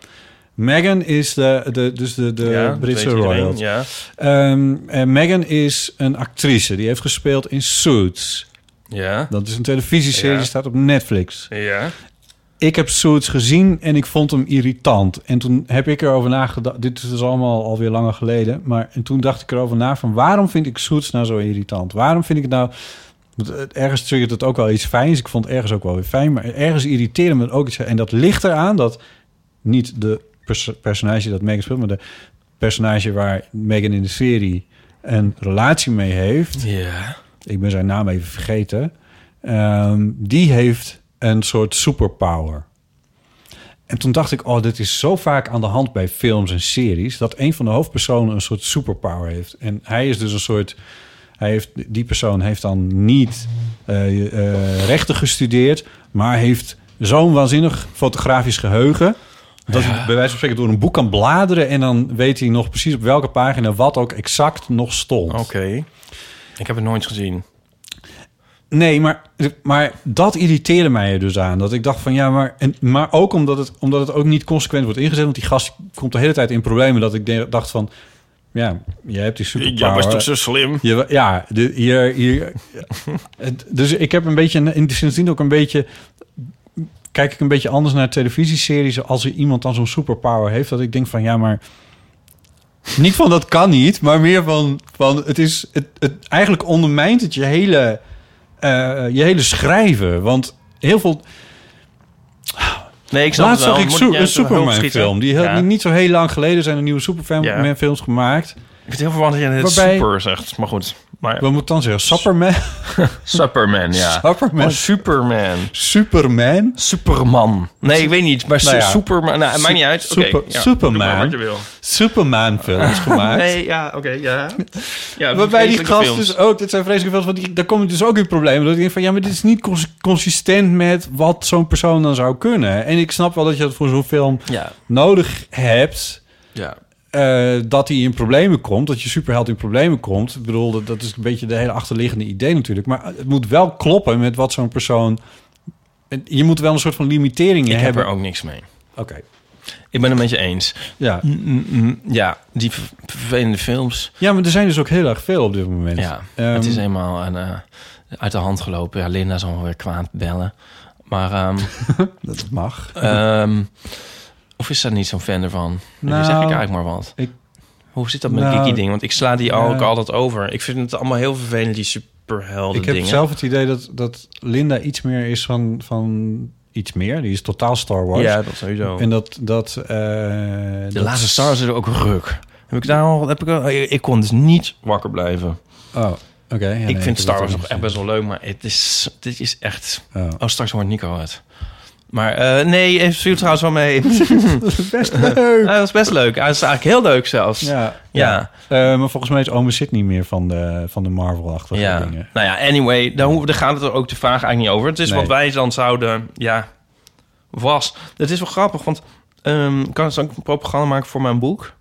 Meghan is de, de, dus de, de ja, dat Britse weet iedereen, royal. Ja. Ehm, en Meghan is een actrice. Die heeft gespeeld in Suits. Ja. Dat is een televisieserie, Ja. die staat op Netflix. Ja. Ik heb Suits gezien en ik vond hem irritant. En toen heb ik erover nagedacht. Dit is dus allemaal alweer langer geleden. Maar en toen dacht ik erover na van waarom vind ik Suits nou zo irritant? Waarom vind ik het nou... want, eh, Ergens triggert het ook wel iets fijns. Ik vond het ergens ook wel weer fijn. Maar ergens irriteerde me het ook iets. En dat ligt eraan dat niet de pers- personage dat Megan speelt... maar de personage waar Megan in de serie een relatie mee heeft Ja. ik ben zijn naam even vergeten. ehm, die heeft een soort superpower. En toen dacht ik, oh, dit is zo vaak aan de hand bij films en series... dat een van de hoofdpersonen een soort superpower heeft. En hij is dus een soort... Hij heeft, die persoon heeft dan niet eh, eh, rechten gestudeerd... maar heeft zo'n waanzinnig fotografisch geheugen... dat hij bij wijze van spreken door een boek kan bladeren... en dan weet hij nog precies op welke pagina wat ook exact nog stond. Oké. Ik heb het nooit gezien. Nee, maar, maar dat irriteerde mij er dus aan. Dat ik dacht van ja, maar, en, maar ook omdat het, omdat het ook niet consequent wordt ingezet. Want die gast komt de hele tijd in problemen. Dat ik de- dacht van ja, jij hebt die superpower. Ja, was toch zo slim? Je wa- ja, de, hier, <laughs> hier, Het- dus ik heb een beetje, een- in die sindsdien ook een beetje, kijk ik een beetje anders naar televisieseries. Als er iemand dan zo'n superpower heeft, dat ik denk van ja, maar niet van dat kan niet, maar meer van, van het is, het, het, eigenlijk ondermijnt het je hele, eh, je hele schrijven. Want heel veel, Nee, ik snap Laatst het zag wel. ik Moet Su- jij een zo hoog schieten? Superman-film. Die heel- Ja. die niet zo heel lang geleden zijn er nieuwe Superman-films Ja. gemaakt. Ik vind het heel verwarrend dat je het Waarbij- super zegt. Maar goed. Maar We moeten dan zeggen? Superman? Superman, ja. Superman. Oh, Superman. Superman? Superman. Nee, ik weet niet. Maar Nou su- ja. Superman. Nou, het maakt niet uit. Oké, Super- ja. Superman. Doe maar wat je wil. <laughs> Superman-films gemaakt. Nee, ja, oké, ja. ja Waarbij die vreselijke gast films. dus ook, dit zijn vreselijke films, want die, daar kom ik dus ook in problemen. Dat ik denk van, ja, maar dit is niet cons- consistent met wat zo'n persoon dan zou kunnen. En ik snap wel dat je dat voor zo'n film Ja, nodig hebt, ja. eh, dat hij in problemen komt, dat je superheld in problemen komt. Ik bedoel, dat, dat is een beetje de hele achterliggende idee natuurlijk. Maar het moet wel kloppen met wat zo'n persoon... en Je moet wel een soort van limiteringen Ik heb hebben. er ook niks mee. Oké, Ik ben het met je eens. ja. Ja, die ver- vervelende films. Ja, maar er zijn dus ook heel erg veel op dit moment. Ja, Ehm, het is eenmaal een, eh, uit de hand gelopen. Ja, Linda is alweer kwaad bellen. Maar, ehm, Dat mag. ehm, of is daar niet zo'n fan ervan? Nu Nou, zeg ik eigenlijk maar wat. ik- Hoe zit dat met Nou, Kiki ding? Want ik sla die ook ja. altijd over. Ik vind het allemaal heel vervelend, die superhelden Ik heb dingen. zelf het idee dat, dat Linda iets meer is van, van iets meer. Die is totaal Star Wars. Ja, dat sowieso. En dat... dat eh, de dat- laatste Star is er ook een ruk. Heb ik daar al... Heb ik, al- ik ik kon dus niet wakker blijven. Oh, oké. Ja, nee, ik vind heb Star het Wars ook nog echt niet best <laughs> wel leuk, maar het is, dit is echt... gezien. Oh. Oh, straks hoort Nico het. Maar eh, nee, even viel trouwens wel mee. <laughs> Best leuk! Hij was best leuk. Hij was eigenlijk heel leuk zelfs. Ja, Ja, ja. Eh, maar volgens mij is Ome Sid niet meer van de, van de Marvel-achtige dingen. Nou ja, anyway, daar, hoe, daar gaat het er ook te vaag eigenlijk niet over. Het is Nee. wat wij dan zouden, ja, was. Het is wel grappig, want ehm, ik kan, zal ik een propaganda maken voor mijn boek?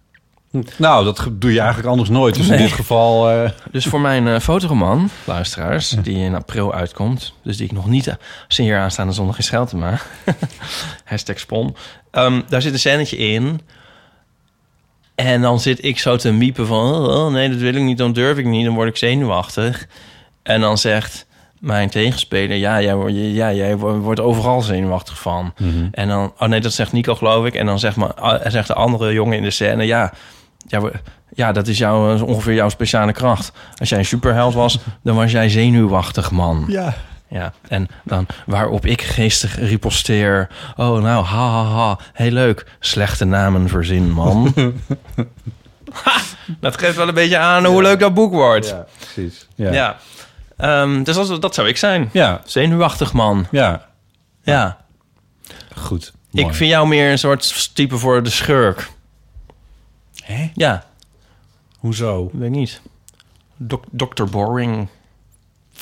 Nou, dat ge- doe je eigenlijk anders nooit. Dus in dit geval... eh, Dus voor mijn eh, fotoroman, luisteraars, die in april uitkomt. Dus die ik nog niet eh, signeer aanstaande zondag in Scheltema. <laughs> Hashtag spon. Ehm, daar zit een scènetje in. En dan zit ik zo te miepen van... Oh, oh, nee, dat wil ik niet, dan durf ik niet, dan word ik zenuwachtig. En dan zegt mijn tegenspeler... Ja, jij, wordt- ja, jij wo- wordt overal zenuwachtig van. En dan... Oh nee, dat zegt Nico, geloof ik. En dan zegt, maar, ah, zegt de andere jongen in de scène... Ja, ja, we- ja, dat is jouw, eh, ongeveer jouw speciale kracht. Als jij een superheld <laughs> was, dan was jij zenuwachtig, man. ja. Ja, en dan waarop ik geestig riposteer. Oh, nou, ha, ha, ha. Heel leuk. Slechte namen verzin, <laughs> man. Ha, dat geeft wel een beetje aan hoe leuk dat boek wordt. Ja. ja, precies. Ja. Ja. Ehm, dus dat, dat zou ik zijn. ja. Zenuwachtig, man. Ja. Goed. Ik Mooi. vind jou meer een soort type voor de schurk. Hè? Ja, Hoezo? weet ik niet. Dok- Dr. Boring.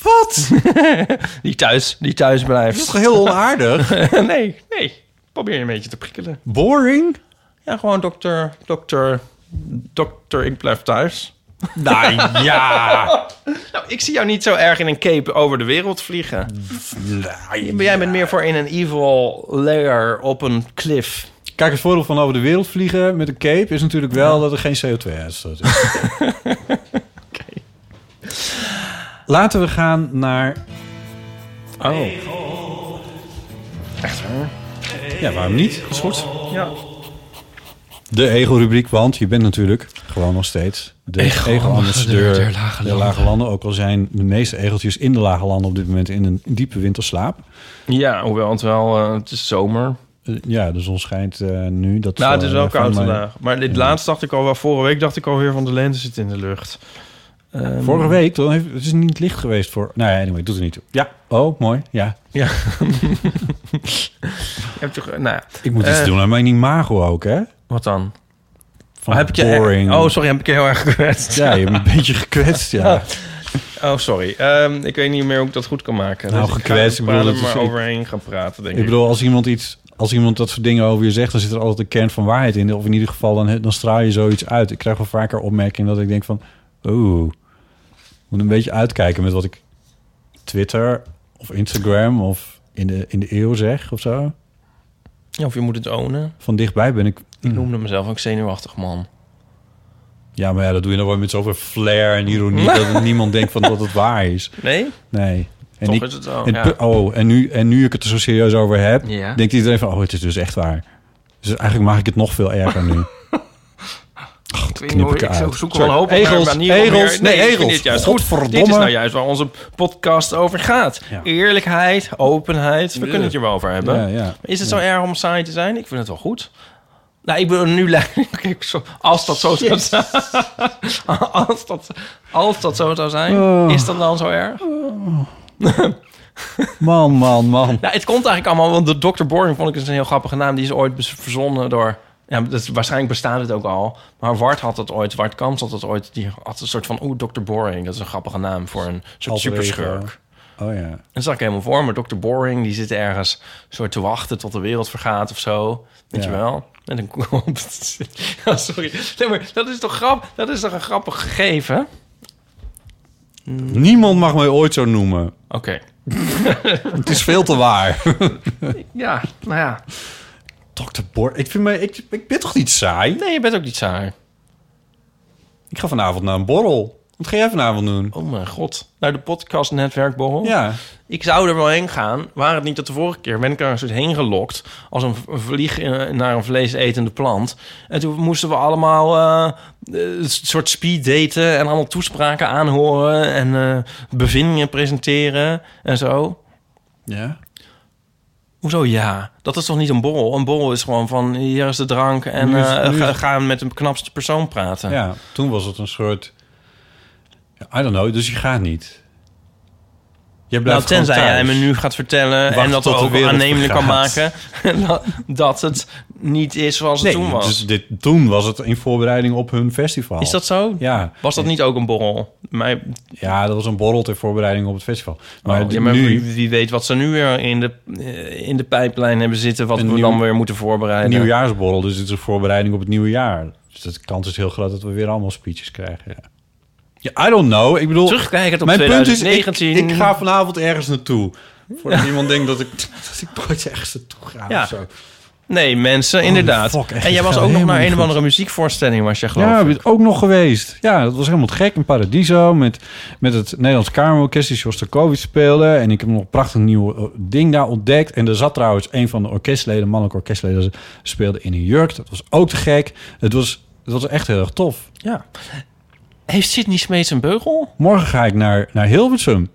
Wat? <laughs> Die thuis, die thuis Dat is toch blijft. heel onaardig? <laughs> nee, nee. Probeer je een beetje te prikkelen. Boring? Ja, gewoon dokter, dokter, dokter, ik blijf <laughs> thuis. Nou ja. <laughs> Nou, ik zie jou niet zo erg in een cape over de wereld vliegen. Maar jij bent meer voor in een evil layer op een cliff. Kijk, het voordeel van over de wereld vliegen met een cape is natuurlijk wel dat er geen CO2-uitstoot is. <laughs> Laten we gaan naar. Oh. Ja, waarom niet? Is goed. Ja. De ego-rubriek, want je bent natuurlijk gewoon nog steeds de Ego- ego-ambassadeur der der lage lage, landen. Ook al zijn de meeste egeltjes in de lage landen op dit moment in een diepe winterslaap. ja, hoewel het wel, eh, het is zomer. Eh, ja, de zon schijnt eh, nu. Dat Nou, het is eh, wel van koud mijn- vandaag. Maar dit laatst dacht ik al wel, vorige week dacht ik alweer van de lente zit in de lucht. Ehm, Vorige week, dan heeft, het is niet licht geweest voor... Nou ja, anyway, doet er niet toe. Ja. Oh, mooi. Ja. Ja. <laughs> Je hebt toch, nou ja, Ik moet iets Eh. doen aan mijn imago ook, hè? wat dan? Van heb ik je boring. Oh, sorry, heb ik je heel erg gekwetst. Ja, je hebt <laughs> me een beetje gekwetst, ja. Oh, sorry. Ehm, ik weet niet meer hoe ik dat goed kan maken. Nou, ik gekwetst, ga ik bedoel, er dat maar is- ik- overheen gaan praten, denk ik. Ik bedoel, als iemand iets... Als iemand dat soort dingen over je zegt, dan zit er altijd een kern van waarheid in. Of in ieder geval, dan, dan straal je zoiets uit. Ik krijg wel vaker opmerkingen dat ik denk van... Oeh, moet een beetje uitkijken met wat ik Twitter of Instagram of in de, in de eeuw zeg of zo. Ja, of je moet het ownen. Van dichtbij ben ik... Ik noemde mezelf ook zenuwachtig man. Ja, maar ja, dat doe je dan wel met zoveel flair en ironie... dat niemand denkt van dat het waar <laughs> is. Nee? Nee. En Toch ik- is het zo, en ja. pu- Oh, en nu, en nu ik het er zo serieus over heb, Ja. denkt iedereen van, oh, het is dus echt waar. Dus eigenlijk maak ik het nog veel erger nu. Ik, weet knip niet, ik ik eruit. zoek Sorry. wel een hoop op naar Egels, manieren om egels, weer- nee, ik vind egels. Dit, juist goed. Godverdomme. dit is nou juist waar onze podcast over gaat. Ja. Eerlijkheid, openheid. We kunnen het hier wel over hebben. Ja, ja. Is het zo erg om saai te zijn? Ik vind het wel goed. Nou, ik bedoel, nu <laughs> lijkt- kijk, zo- als dat zo zou zijn, <laughs> als dat, als dat zo zou zijn, Oh. is dat dan zo erg? Man, man, man. Nou, het komt eigenlijk allemaal, want de Dr. Boring vond ik dus een heel grappige naam. Die is ooit bes- verzonnen door, ja, dat is, waarschijnlijk bestaat het ook al. Maar Wart had dat ooit, Wart Kamps had dat ooit. Die had een soort van, oeh, Dr. Boring. Dat is een grappige naam voor een soort Alter ego. superschurk. Oh ja. En zag ik helemaal voor me. Dr. Boring, die zit ergens soort te wachten tot de wereld vergaat of zo. Weet Ja. je wel? Met een kop. <laughs> Ja, Oh, sorry. Nee, maar dat is toch grap? Dat is toch een grappig gegeven? Niemand mag mij ooit zo noemen. Oké. Het is veel te waar. <laughs> Ja, nou ja. Dr. Bor, ik, vind mij, ik, ik ben toch niet saai? Nee, je bent ook niet saai. Ik ga vanavond naar een borrel. Wat ga jij vanavond doen? Oh mijn god. Naar de podcast netwerkborrel. Ja. Ik zou er wel heen gaan, waar het niet dat de vorige keer ben ik er een soort heen gelokt als een v- een vlieg eh, naar een vleesetende plant. En toen moesten we allemaal eh, eh, een soort speed daten en allemaal toespraken aanhoren en eh, bevindingen presenteren en zo. Ja. Hoezo ja? Dat is toch niet een borrel? Een borrel is gewoon van hier is de drank en Nu is- eh, nu is- ga, ga met een knapste persoon praten. Nou, Ja, toen was het een soort... I don't know, dus je gaat niet. Je Nou, blijft gewoon tenzij thuis. jij me nu gaat vertellen Wacht en dat tot de ook wereld aannemelijk kan maken <laughs> vergaat. dat, dat het niet is zoals het Nee, toen was. Dus dit, toen was het in voorbereiding op hun festival. Is dat zo? Ja. Oh, Was dat niet ook een borrel? Maar, Ja, dat was een borrel ter voorbereiding op het festival. Maar, oh, ja, maar nu, wie, wie weet wat ze nu weer in de, eh, in de pijplijn hebben zitten... wat Een we nieuw- dan weer moeten voorbereiden. nieuwjaarsborrel, dus dit is een voorbereiding op het nieuwe jaar. Dus de kans is heel groot dat we weer allemaal speeches krijgen. Ja. Ja, I don't know. Ik bedoel, Terugkijkend op mijn punt is, 2019. ik, ik ga vanavond ergens naartoe. Voordat iemand denkt dat ik, <laughs> dat ik nooit ergens naartoe ga Ja. of zo. Nee, mensen, inderdaad. Oh, fuck, echt, en jij het was gaat ook nog helemaal naar niet een of goed. andere muziekvoorstelling, was je geloof Ja, ik. ben ook nog geweest. Ja, dat was helemaal te gek. In Paradiso met, met het Nederlands Kamerorkest die Shostakovich speelde. En ik heb nog een prachtig nieuw eh, ding daar ontdekt. En er zat trouwens een van de orkestleden, mannelijke orkestleden, speelde in een jurk. Dat was ook te gek. Het was, het was echt heel erg tof. Ja. Heeft Sidney Smeets een beugel? Morgen ga ik naar, naar Hilversum.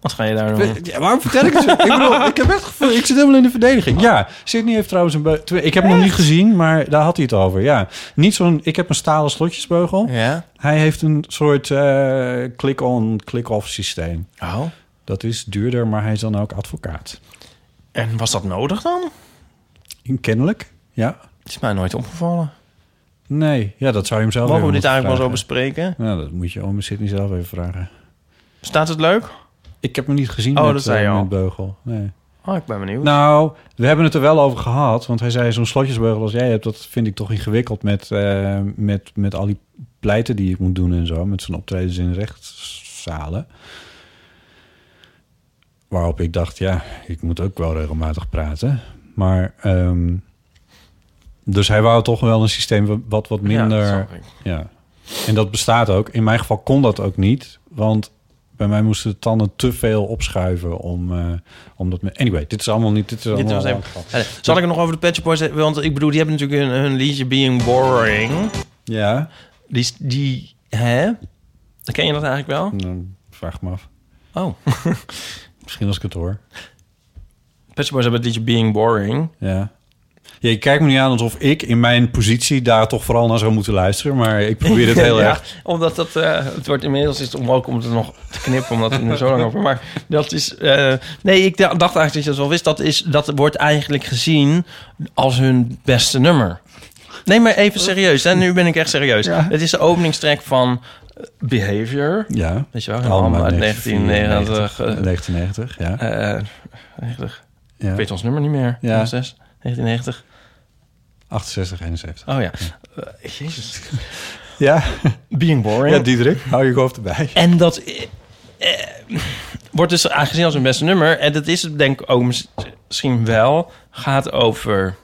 Wat ga je daar doen? Ja, waarom vertel ik het? zo? ik, <laughs> bedoel, ik heb echt gevoel, ik zit helemaal in de verdediging. Ja, Sidney heeft trouwens een beu- twee- Ik heb hem nog niet gezien, maar daar had hij het over. Ja, niet zo'n. Ik heb een stalen slotjesbeugel. Ja. Hij heeft een soort eh, click-on, click-off systeem. Oh. Dat is duurder, maar hij is dan ook advocaat. En was dat nodig dan? Kennelijk, ja. Het is mij nooit opgevallen. Nee, ja, dat zou je hem zelf Mogen we even dit eigenlijk wel zo moeten bespreken? vragen. Nou, dat moet je oom Sidney zelf even vragen. Staat het leuk? Ik heb hem niet gezien Oh, met, dat zei eh, je al. met Beugel. Nee. Oh, ik ben benieuwd. Nou, we hebben het er wel over gehad. Want hij zei, zo'n slotjesbeugel als jij hebt... dat vind ik toch ingewikkeld met, eh, met, met al die pleiten die ik moet doen en zo. Met zijn optredens in rechtszalen. Waarop ik dacht, ja, ik moet ook wel regelmatig praten. Maar, ehm, dus hij wou toch wel een systeem wa- wat wat Ja, dat Nou, minder... snap ik. Ja. En dat bestaat ook. In mijn geval kon dat ook niet. Want bij mij moesten de tanden te veel opschuiven om, eh om dat... me- Anyway, dit is allemaal niet... Dit is Dit allemaal was even... Eh, Zal ik het nog over de Pet Shop Boys hebben? Want ik bedoel, die hebben natuurlijk hun, hun liedje Being Boring. Ja, Die, is- die... Hè? Ken je dat eigenlijk wel? Nou, vraag ik me af. Oh. <laughs> Misschien als ik het hoor. Pet Shop Boys hebben het liedje Being Boring. Ja. Ja, je kijkt me niet aan alsof ik in mijn positie daar toch vooral naar zou moeten luisteren. Maar ik probeer <laughs> het heel Ja, erg. Omdat dat... eh, het wordt inmiddels is het onmogelijk om het er nog te knippen... omdat we er zo lang over... Maar dat is... eh, nee, ik dacht eigenlijk dat je dat wel wist. Dat, is, dat wordt eigenlijk gezien als hun beste nummer. Nee, maar even serieus. En nu ben ik echt serieus. Het is de openingstrek van eh, Behavior. Ja. Weet je wel, een album uit 1990. eh, 1990, ja. eh, 90. ja. Ik weet ons nummer niet meer. Ja. 06, 1990. 68, 71. Oh ja. Eh, jezus. Ja, Being boring. ja Diederik, hou Oh, je hoofd erbij. En dat eh, eh, wordt dus aangezien als een beste nummer. En dat is het denk ik ook mis- misschien wel. Gaat over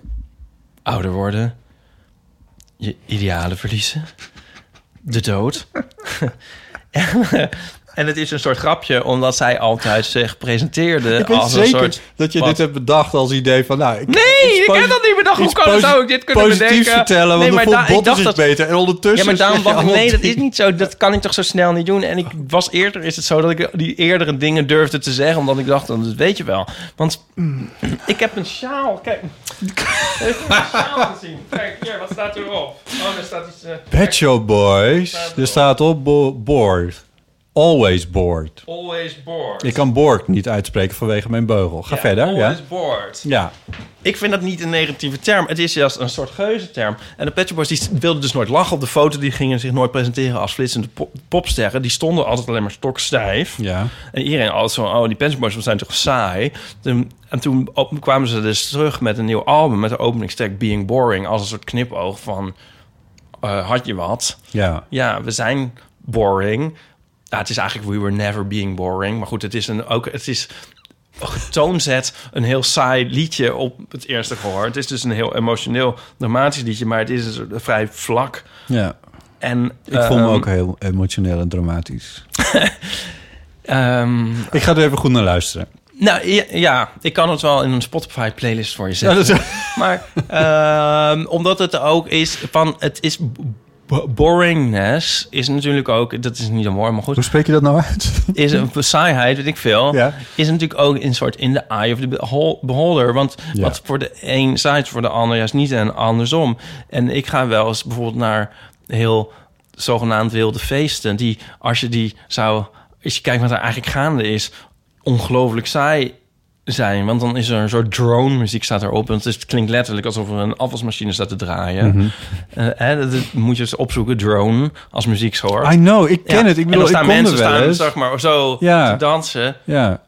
ouder worden. Je idealen verliezen. De dood. <laughs> en, eh, en het is een soort grapje, omdat zij altijd zich presenteerde Ik weet als een zeker soort... dat je wat- dit hebt bedacht als idee van... Nou, ik, Nee, iets ik heb posi- dat niet bedacht. Hoe iets kan het posi- nou? Ik dit kunnen positiefs bedenken? vertellen, Nee, want maar de da- voetbal ik dacht is dat- beter. En Ja, ondertussen... maar daarom zeg je dacht ik, allemaal nee, dat is dingen. niet zo. Dat kan ik toch zo snel niet doen. En ik was eerder, is het zo dat ik die eerdere dingen durfde te zeggen, omdat ik dacht, dat weet je wel. Want ik heb een sjaal. Kijk, <laughs> ik heb een sjaal gezien. Kijk, hier, wat staat erop? Oh, daar staat iets. eh, Pet Shop Boys. Er staat op bo- board. Always board. always bored. Ik kan board niet uitspreken vanwege mijn beugel. Ga verder, ja. Always bored. Ja. Ik vind dat niet een negatieve term. Het is juist een soort geuzenterm. En de Pet Shop Boys die wilden dus nooit lachen op de foto. Die gingen zich nooit presenteren als flitsende pop- popsterren. Die stonden altijd alleen maar stokstijf. Ja. En iedereen altijd zo, oh, die Pet Shop Boys zijn toch saai. Toen- en toen op- kwamen ze dus terug met een nieuw album... met de openingstek Being Boring... als een soort knipoog van... eh, had je wat? Ja. Ja, we zijn boring. Ja, het is eigenlijk We Were Never Being Boring. Maar goed, het is een, ook... Het is getoonzet een heel saai liedje op het eerste gehoor. Het is dus een heel emotioneel, dramatisch liedje... maar het is een soort- vrij vlak. ja. En, Ik vond me ook heel emotioneel en dramatisch. ehm, Ik ga er even goed naar luisteren. Nou ja, ja, ik kan het wel in een Spotify playlist voor je Ja, zetten. dat is- Maar ehm, omdat het er ook is van het is b- bo- boringness is natuurlijk ook... Dat is niet een woord, maar goed. Hoe spreek je dat nou uit? is een saaiheid, weet ik veel. Ja. Is natuurlijk ook een soort in de eye of the behol- beholder. Want Ja. wat voor de een saai is, voor de ander juist niet en andersom. En ik ga wel eens bijvoorbeeld naar heel zogenaamd wilde feesten. Die, als je die zou, als je kijkt wat er eigenlijk gaande is, ongelooflijk saai zijn. Want dan is er een soort drone muziek staat erop. Want het is- het klinkt letterlijk alsof er een afwasmachine staat te draaien. Mhm. Eh, hè, dat, dat moet je eens opzoeken, drone, als muziekschoor. I know, ik ken Ja. het. Ik en bedoel, dan ik staan kon mensen er wel staan, eens. zeg maar, zo Ja. te dansen. Ja,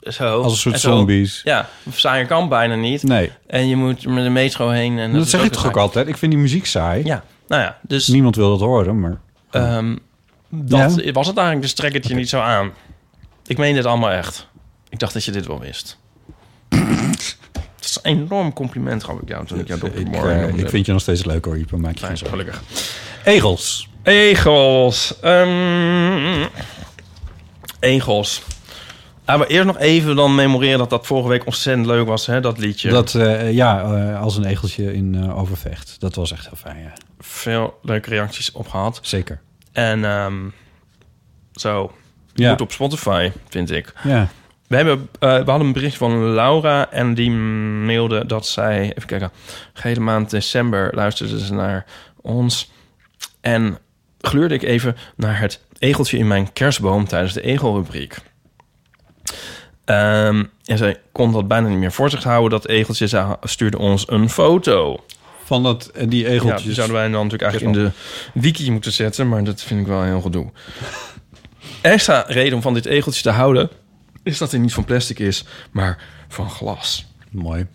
Zo. als een soort En zo. zombies. Ja, saaier kan bijna niet. Nee, En je moet met de metro heen. En dat, zeg is ik toch ook saai. altijd. Ik vind die muziek saai. Ja, nou ja, dus Niemand wil dat horen, maar... ehm, dat was het eigenlijk. Dus trek het je niet zo aan. Ik meen dit allemaal echt. Ik dacht dat je dit wel <laughs> wist. Dat is een enorm compliment, gaf ik jou toen ik jou door Ik, eh, ik vind je nog steeds leuk hoor, Ieper. Maak je geen Fijn, zorgen. gelukkig. Egels. Egels. Ehm egels. Ah, maar eerst nog even dan memoreren dat dat vorige week ontzettend leuk was, hè, dat liedje. Dat, eh, ja, eh, als een egeltje in eh, Overvecht. Dat was echt heel fijn, ja. Veel leuke reacties op gehad. Zeker. En ehm, zo, Ja. goed op Spotify, vind ik. Ja. We, hebben, eh, we hadden een bericht van Laura en die mailde dat zij... Even kijken. Gele maand december luisterde ze naar ons. En gluurde ik even naar het egeltje in mijn kerstboom tijdens de egelrubriek. Ehm, en zij kon dat bijna niet meer voor zich houden. Dat egeltje Zij stuurde ons een foto. Van dat, eh, die Ja, die egeltjes. zouden wij dan natuurlijk eigenlijk in de wiki moeten zetten, maar dat vind ik wel een heel gedoe. <laughs> Extra reden om van dit egeltje te houden is dat hij niet van plastic is, maar van glas. Mooi.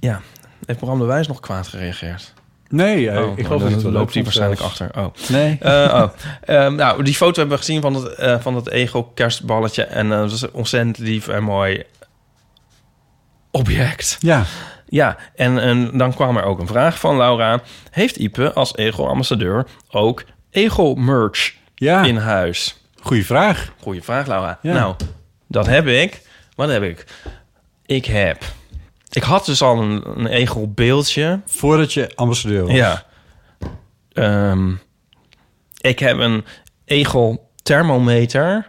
Ja, heeft Bram de Wijs nog kwaad gereageerd? Nee, eh, Oh, ik dan geloof dat het wel loopt hij leuk vond waarschijnlijk zelfs. achter. Oh. Nee. Eh, oh. <laughs> Ehm, nou, die foto hebben we gezien van dat, eh, van dat ego-kerstballetje. En eh, dat is een ontzettend lief en mooi object. ja. Ja, en, en dan kwam er ook een vraag van Laura. Heeft Ipe als Ego-ambassadeur ook Ego-merch Ah. Ja. in huis? Goeie vraag. Goeie vraag, Laura. Ja. Nou, dat heb ik. Wat heb ik? Ik heb... Ik had dus al een, een Ego-beeldje. Voordat je ambassadeur was. Ja. Ehm, ik heb een Ego-thermometer...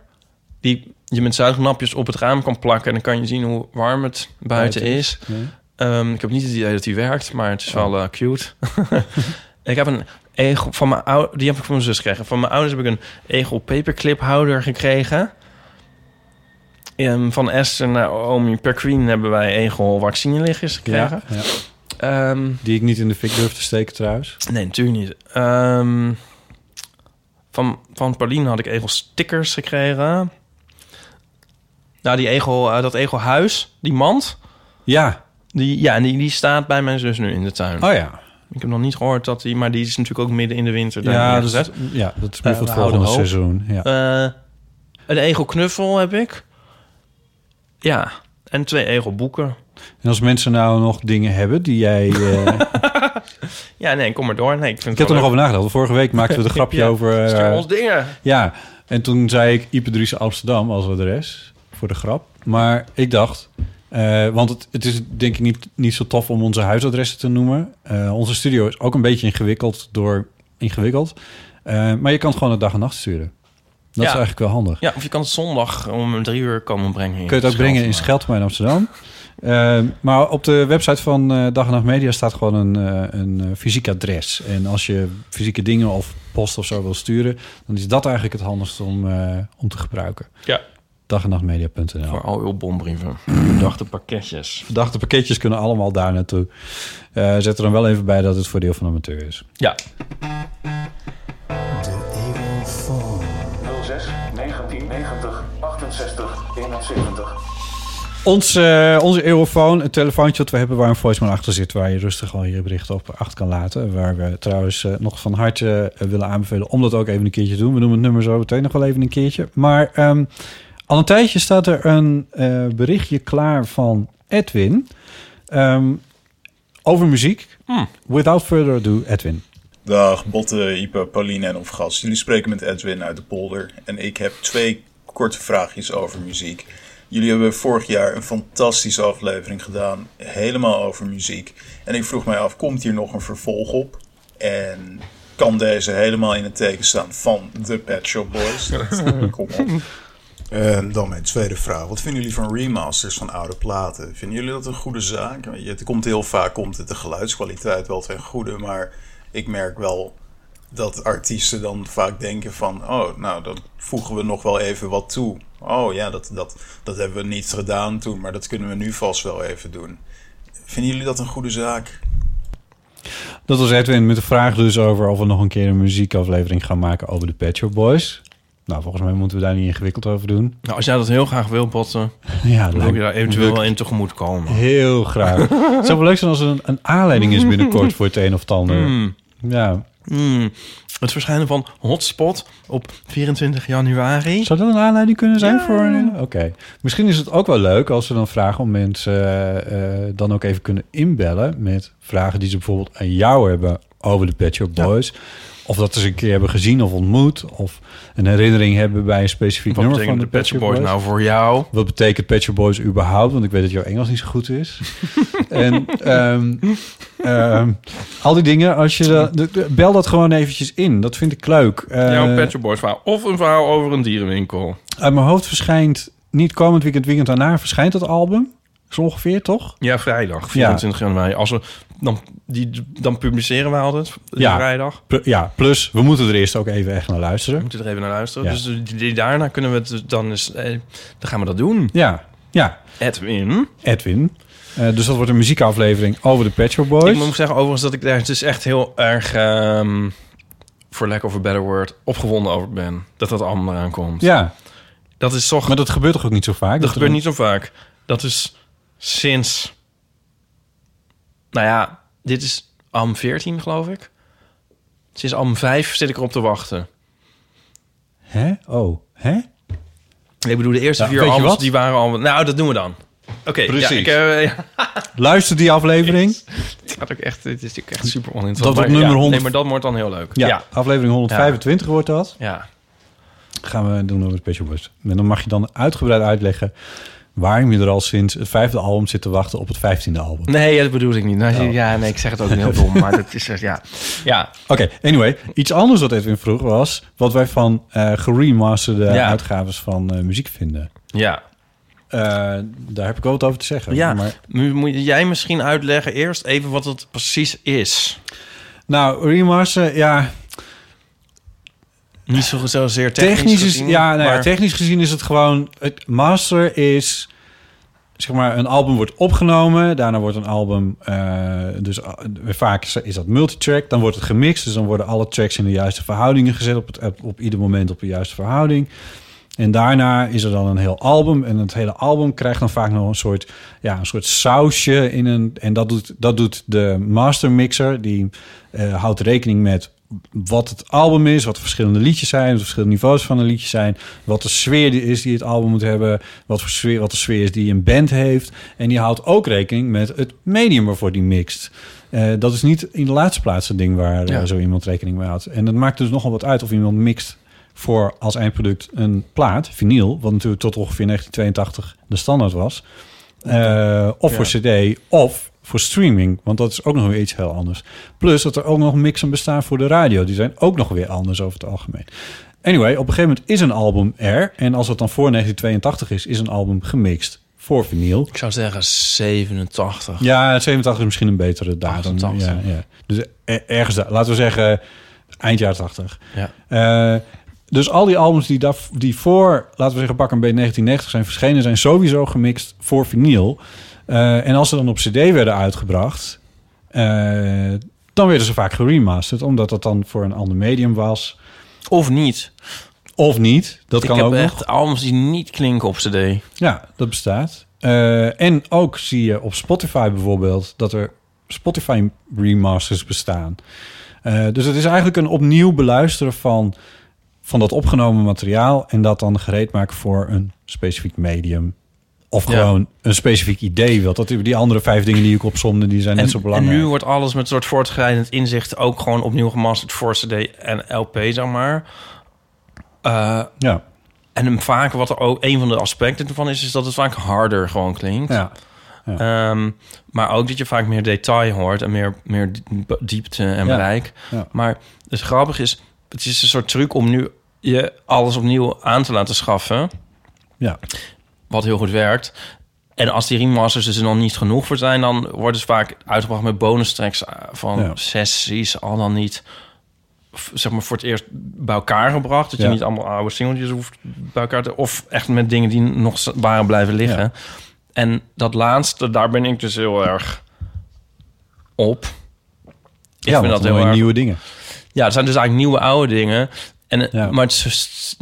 die je met zuignapjes op het raam kan plakken... en dan kan je zien hoe warm het Buiten buiten is. Ehm, ik heb niet het idee dat die werkt, maar het is wel eh, cute. <laughs> ik heb een egel van mijn ouders, die heb ik van mijn zus gekregen. Van mijn ouders heb ik een egel paperclip houder gekregen. Ehm, van Esther naar Omi Perqueen hebben wij egel vaccinelichtjes gekregen. Ja, ja. Ehm, Die ik niet in de fik durf te steken trouwens. nee, natuurlijk niet. Ehm, van, van Pauline had ik egel stickers gekregen. Nou, die egel, eh, dat egelhuis, die mand, Ja. die, ja, die, die staat bij mijn zus nu in de tuin. Oh ja. Ik heb nog niet gehoord dat die, maar die is natuurlijk ook midden in de winter. Daar ja, dat neergezet. is, ja, dat is meer Eh, voor het we houden volgende hoop. seizoen. Ja. Eh, een egelknuffel heb ik. Ja, en twee egelboeken. En als mensen nou nog dingen hebben die jij... <laughs> eh, Ja, nee, kom maar door. Nee, ik vind ik heb het er nog wel over nagedacht. Vorige week maakten <laughs> we een grapje Ja, over... leuk. eh, Stuur ons dingen. ja, en toen zei ik Ipedrice Amsterdam als adres. Voor de grap. Maar ik dacht... eh, want het, het is denk ik niet, niet zo tof om onze huisadressen te noemen. Eh, onze studio is ook een beetje ingewikkeld door... Ingewikkeld. Eh, maar je kan het gewoon een dag en nacht sturen. Dat is Ja. eigenlijk wel handig. Ja, of je kan het zondag om drie uur komen brengen. hier Kun je het ook Scheldema. brengen in Scheltema in Amsterdam. Ehm, maar op de website van eh, Dag en Nacht Media staat gewoon een, eh, een eh, fysiek adres. En als je fysieke dingen of post of zo wil sturen... dan is dat eigenlijk het handigste om, eh, om te gebruiken. Ja, Dag en nachtmedia.nl. voor al uw bombrieven. <clears throat> Verdachte pakketjes. Verdachte pakketjes kunnen allemaal daar naartoe. Eh, zet er dan wel even bij dat het voor deel van amateur is. Ja, 06 1990 68 71. Ons, eh, onze Eurofoon, het telefoontje dat we hebben waar een voicemail achter zit... waar je rustig al je bericht op achter kan laten. Waar we trouwens eh, nog van harte eh, willen aanbevelen om dat ook even een keertje te doen. We noemen het nummer zo meteen nog wel even een keertje. Maar ehm, al een tijdje staat er een eh, berichtje klaar van Edwin... ehm, over muziek. Hmm. Without further ado, Edwin. Dag Botte, Ipe, Pauline en Ofgas. Jullie spreken met Edwin uit de polder. En ik heb twee korte vraagjes over muziek. Jullie hebben vorig jaar een fantastische aflevering gedaan, helemaal over muziek. En ik vroeg mij af, komt hier nog een vervolg op? En kan deze helemaal in het teken staan van de Pet Shop Boys. Dat- Kom op. Ehm, dan mijn tweede vraag. Wat vinden jullie van remasters van oude platen? Vinden jullie dat een goede zaak? Weet je, Het komt heel vaak komt het de geluidskwaliteit wel ten goede, maar ik merk wel dat artiesten dan vaak denken van... oh, nou, dan voegen we nog wel even wat toe. Oh ja, dat, dat, dat hebben we niet gedaan toen, maar dat kunnen we nu vast wel even doen. Vinden jullie dat een goede zaak? Dat was Edwin met de vraag dus over of we nog een keer een muziekaflevering gaan maken over de Pet Shop Boys. Nou, volgens mij moeten we daar niet ingewikkeld over doen. <laughs> Nou, als jij dat heel graag wil, Botten, Ja, dan wil lijkt- ik je daar eventueel wel in tegemoet komen. Heel graag. het zou wel leuk zijn als er een, een aanleiding is binnenkort voor het een of het ander. Mm. Ja. Mm. Het verschijnen van Hotspot op 24 januari. Zou dat een aanleiding kunnen zijn voor een... Oké. Misschien is het ook wel leuk als we dan vragen om mensen eh, eh, dan ook even kunnen inbellen met vragen die ze bijvoorbeeld aan jou hebben over de Pet Shop Boys. Of dat ze een keer hebben gezien of ontmoet. Of een herinnering hebben bij een specifiek Wat nummer van betekent de, de Pet Shop Boys nou voor jou? Wat betekent Pet Shop Boys überhaupt? Want ik weet dat jouw Engels niet zo goed <laughs> is. en ehm, ehm, al die dingen, als je dat- de- de- bel dat gewoon eventjes in. Dat vind ik leuk. Eh, jouw Pet Shop Boys verhaal. Of een verhaal over een dierenwinkel. uit mijn hoofd verschijnt niet komend weekend, weekend daarna verschijnt dat album. Zo ongeveer, toch? Ja, vrijdag, 24 januari. Als we, dan, die, dan publiceren we al het Ja. vrijdag. Pl- ja, plus we moeten er eerst ook even echt naar luisteren. We moeten er even naar luisteren. Ja. Dus die, die- daarna kunnen we het dan eens... eh, dan gaan we dat doen. Ja, ja, Edwin. Edwin. Eh, dus dat wordt een muziekaflevering over de Pet Shop Boys. Ik moet zeggen overigens dat ik daar dus echt heel erg... ehm, voor lack of a better word, opgewonden over ben. Dat dat allemaal eraan komt. Ja, Dat is toch... maar dat gebeurt toch ook niet zo vaak? Dat er gebeurt een- niet zo vaak. Dat is sinds. Nou ja, dit is AM 14, geloof ik. Sinds AM 5 zit ik erop te wachten. Hè? Oh, hè? Ik bedoel, de eerste Ja, vier weet je albums wat? die waren al. Nou, dat doen we dan. Oké, Precies. Ja, ik, eh, <laughs> ja, Luister die aflevering. het gaat ook echt. Dit is natuurlijk echt super oninteressant. Dat op Maar nummer ja, 100. Nee, maar dat wordt dan heel leuk. Ja, ja. aflevering 125 wordt dat. ja. Gaan we doen over de Special Boys. En dan mag je dan uitgebreid uitleggen waarom je er al sinds het vijfde album zit te wachten op het vijftiende album. Nee, dat bedoel ik niet. Nou, Ja, nee, ik zeg het ook heel dom, maar dat is echt, ja. <laughs> Ja, Oké, anyway. Iets anders wat Edwin vroeg was wat wij van eh geremasterde Ja. uitgaves van eh, muziek vinden. ja. Eh, daar heb ik wel wat over te zeggen. ja. Maar, Mo- Moet jij misschien uitleggen eerst even wat het precies is? nou, remaster, ja, Niet zo zozeer technisch, technisch, is, gezien, ja, nou ja, maar- technisch gezien is het gewoon... Het master is... Zeg maar, een album wordt opgenomen. Daarna wordt een album... eh, dus eh, vaak is, is dat multitrack. Dan wordt het gemixt. Dus dan worden alle tracks in de juiste verhoudingen gezet. Op, het, op, op ieder moment op de juiste verhouding. En daarna is er dan een heel album. En het hele album krijgt dan vaak nog een soort, ja, een soort sausje in een. En dat doet, dat doet de master mixer. Die eh, houdt rekening met wat het album is, wat de verschillende liedjes zijn, wat de verschillende niveaus van de liedjes zijn, wat de sfeer die is die het album moet hebben, wat, voor sfeer, wat de sfeer is die een band heeft. En die houdt ook rekening met het medium waarvoor die mixt. Eh, dat is niet in de laatste plaats het ding waar eh, Ja. zo iemand rekening mee houdt. En dat maakt dus nogal wat uit of iemand mixt voor als eindproduct een plaat, vinyl, wat natuurlijk tot ongeveer 1982 de standaard was. Eh, of voor cd, of voor streaming, want dat is ook nog weer iets heel anders. Plus dat er ook nog mixen bestaan voor de radio, die zijn ook nog weer anders over het algemeen. Anyway, op een gegeven moment is een album er, en als het dan voor 1982 is, is een album gemixt voor vinyl. Ik zou zeggen 87. Ja, 87 is misschien een betere datum. 88. Ja, ja. Dus er- ergens, daar- laten we zeggen, eind jaren 80. Ja. Eh, dus al die albums die, daar, die voor, laten we zeggen, pak een beetje 1990 zijn verschenen, zijn sowieso gemixt voor vinyl. Eh, en als ze dan op CD werden uitgebracht, eh, dan werden ze vaak geremasterd, omdat dat dan voor een ander medium was. Of niet. Of niet, dat ik kan heb ook nog. echt albums die niet klinken op cd. Ja, dat bestaat. Eh, en ook zie je op Spotify bijvoorbeeld dat er Spotify remasters bestaan. Eh, dus het is eigenlijk een opnieuw beluisteren van, van dat opgenomen materiaal en dat dan gereed maken voor een specifiek medium. Of Ja. gewoon een specifiek idee. Want dat, die andere vijf dingen die ik opzomde, die zijn net zo en belangrijk. nu wordt alles met een soort voortschrijdend inzicht ook gewoon opnieuw gemasterd voor cd en LP, zeg maar. Eh, ja, en hem vaak wat er ook een van de aspecten ervan is, is dat het vaak harder gewoon klinkt. ja. Ehm, maar ook dat je vaak meer detail hoort en meer, meer diep- diepte en Ja. bereik. Ja. Maar het grappige is, het is een soort truc om nu je alles opnieuw aan te laten schaffen. Ja. Wat heel goed werkt. En als die remasters dus er nog niet genoeg voor zijn, dan worden ze vaak uitgebracht met bonus tracks eh, van Ja. sessies, al dan niet. f- Zeg maar voor het eerst bij elkaar gebracht. Dat je Ja. niet allemaal oude singeltjes hoeft bij elkaar te. Of echt met dingen die nog z- waren blijven liggen. Ja. En dat laatste, daar ben ik dus heel erg op. Ik ja, vind want dat dan heel hoor je erg. nieuwe dingen. Ja, het zijn dus eigenlijk nieuwe oude dingen. En, Ja. Maar het, is-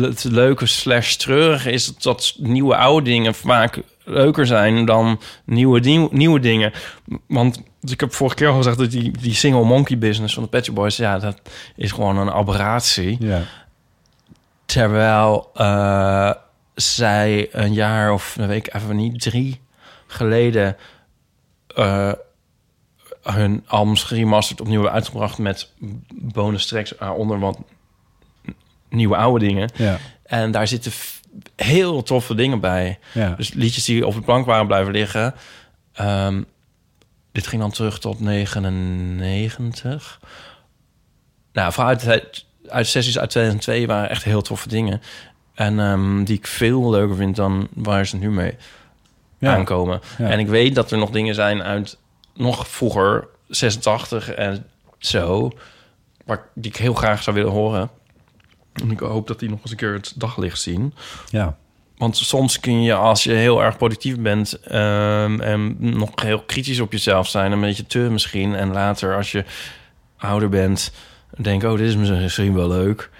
het leuke slash treurige is dat, dat nieuwe oude dingen vaak leuker zijn dan nieuwe, nieuw- nieuwe dingen. Want ik heb vorige keer al gezegd dat die, die single monkey business van de Pet Shop Boys... ja, dat is gewoon een aberratie. Ja. Terwijl eh, zij een jaar of een week, even niet, drie geleden eh, hun albums geremasterd opnieuw hebben uitgebracht met bonus tracks onder wat nieuwe oude dingen. Ja. En daar zitten f- heel toffe dingen bij. Ja. Dus liedjes die op de plank waren blijven liggen. Ehm, dit ging dan terug tot 99. Nou, vooral uit, uit, uit sessies uit 2002 waren echt heel toffe dingen. En ehm, die ik veel leuker vind dan waar ze nu mee Ja. aankomen. Ja. En ik weet dat er nog dingen zijn uit nog vroeger, 86 en zo... Waar, ik- die ik heel graag zou willen horen. En ik hoop dat die nog eens een keer het daglicht zien. ja. Want soms kun je, als je heel erg productief bent ehm, en nog heel kritisch op jezelf zijn, een beetje te misschien. En later, als je ouder bent, denk oh, dit is misschien wel leuk.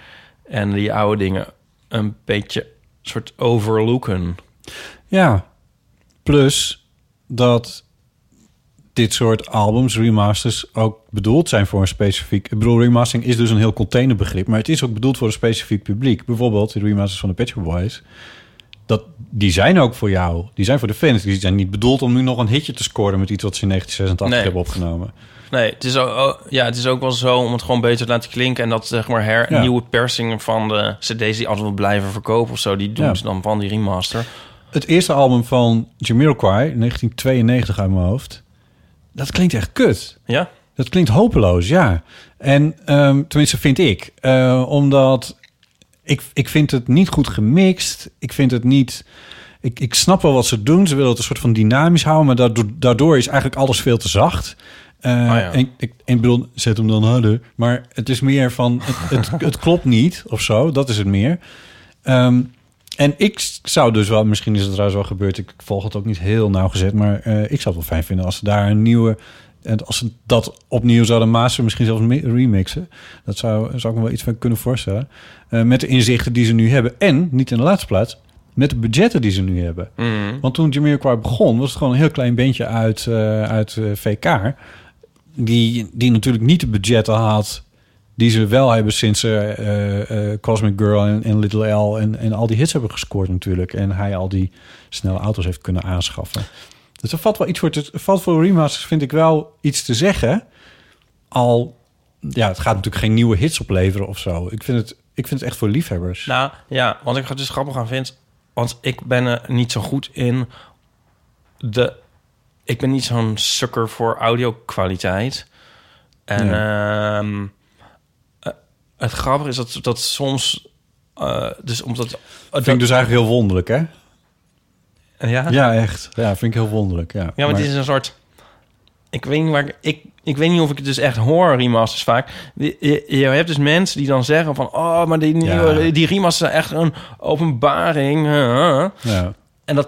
En die oude dingen een beetje soort overlooken. Ja. Plus dat dit soort albums, remasters, ook bedoeld zijn voor een specifiek... Ik bedoel, remastering is dus een heel containerbegrip... maar het is ook bedoeld voor een specifiek publiek. Bijvoorbeeld de remasters van de Pet Shop Boys. Dat, die zijn ook voor jou. Die zijn voor de fans. Die zijn niet bedoeld om nu nog een hitje te scoren... met iets wat ze in 1986 Nee. hebben opgenomen. Nee, het is, ook, ook- ja, het is ook wel zo om het gewoon beter te laten klinken. En dat zeg maar her, Ja. nieuwe persingen van de CD's die altijd wel blijven verkopen of zo, die doen Ja. ze dan van die remaster. Het eerste album van Jamiroquai, 1992 uit mijn hoofd... dat klinkt echt kut. Ja? Dat klinkt hopeloos, ja. En ehm, tenminste vind ik. Eh, omdat ik, ik vind het niet goed gemixt. Ik vind het niet... Ik, ik snap wel wat ze doen. Ze willen het een soort van dynamisch houden. Maar daardoor, daardoor is eigenlijk alles veel te zacht. Eh, ja. en, ik, en ik bedoel, zet hem dan harder. Maar het is meer van... Het, het, het klopt niet of zo. Dat is het meer. Ehm, en ik zou dus wel, misschien is het trouwens wel gebeurd, ik volg het ook niet heel nauwgezet, maar eh, ik zou het wel fijn vinden als ze daar een nieuwe, en als ze dat opnieuw zouden masteren, misschien zelfs me- remixen. Dat zou, zou ik me wel iets van kunnen voorstellen. Eh, met de inzichten die ze nu hebben en, niet in de laatste plaats, met de budgetten die ze nu hebben. Want toen Jamiroquai begon, was het gewoon een heel klein bandje uit, eh, uit eh, VK, die, die natuurlijk niet de budgetten had die ze wel hebben sinds eh, eh, eh, Cosmic Girl en, en Little L en, en al die hits hebben gescoord natuurlijk. En hij al die snelle auto's heeft kunnen aanschaffen. Dus er valt wel iets voor, te, er valt voor remasters vind ik wel iets te zeggen. Al, ja, het gaat natuurlijk geen nieuwe hits opleveren of zo. Ik vind het, ik vind het echt voor liefhebbers. Nou ja, wat ik het dus grappig aan vind, want ik ben er niet zo goed in de. Ik ben niet zo'n sukker voor audio-kwaliteit. En ehm, eh, het grappige is dat, dat soms. eh, dus omdat. dat vind ik dus eigenlijk heel wonderlijk, hè? eh, ja? Ja, echt. Ja, vind ik heel wonderlijk, ja. Ja, maar het is een soort... Ik weet, niet waar ik, ik, ik weet niet of ik het dus echt hoor, remasters vaak. Je, je- je hebt dus mensen die dan zeggen van... Oh, maar die, nieuwe- die remasters zijn echt een openbaring. hè. Ja. En dat...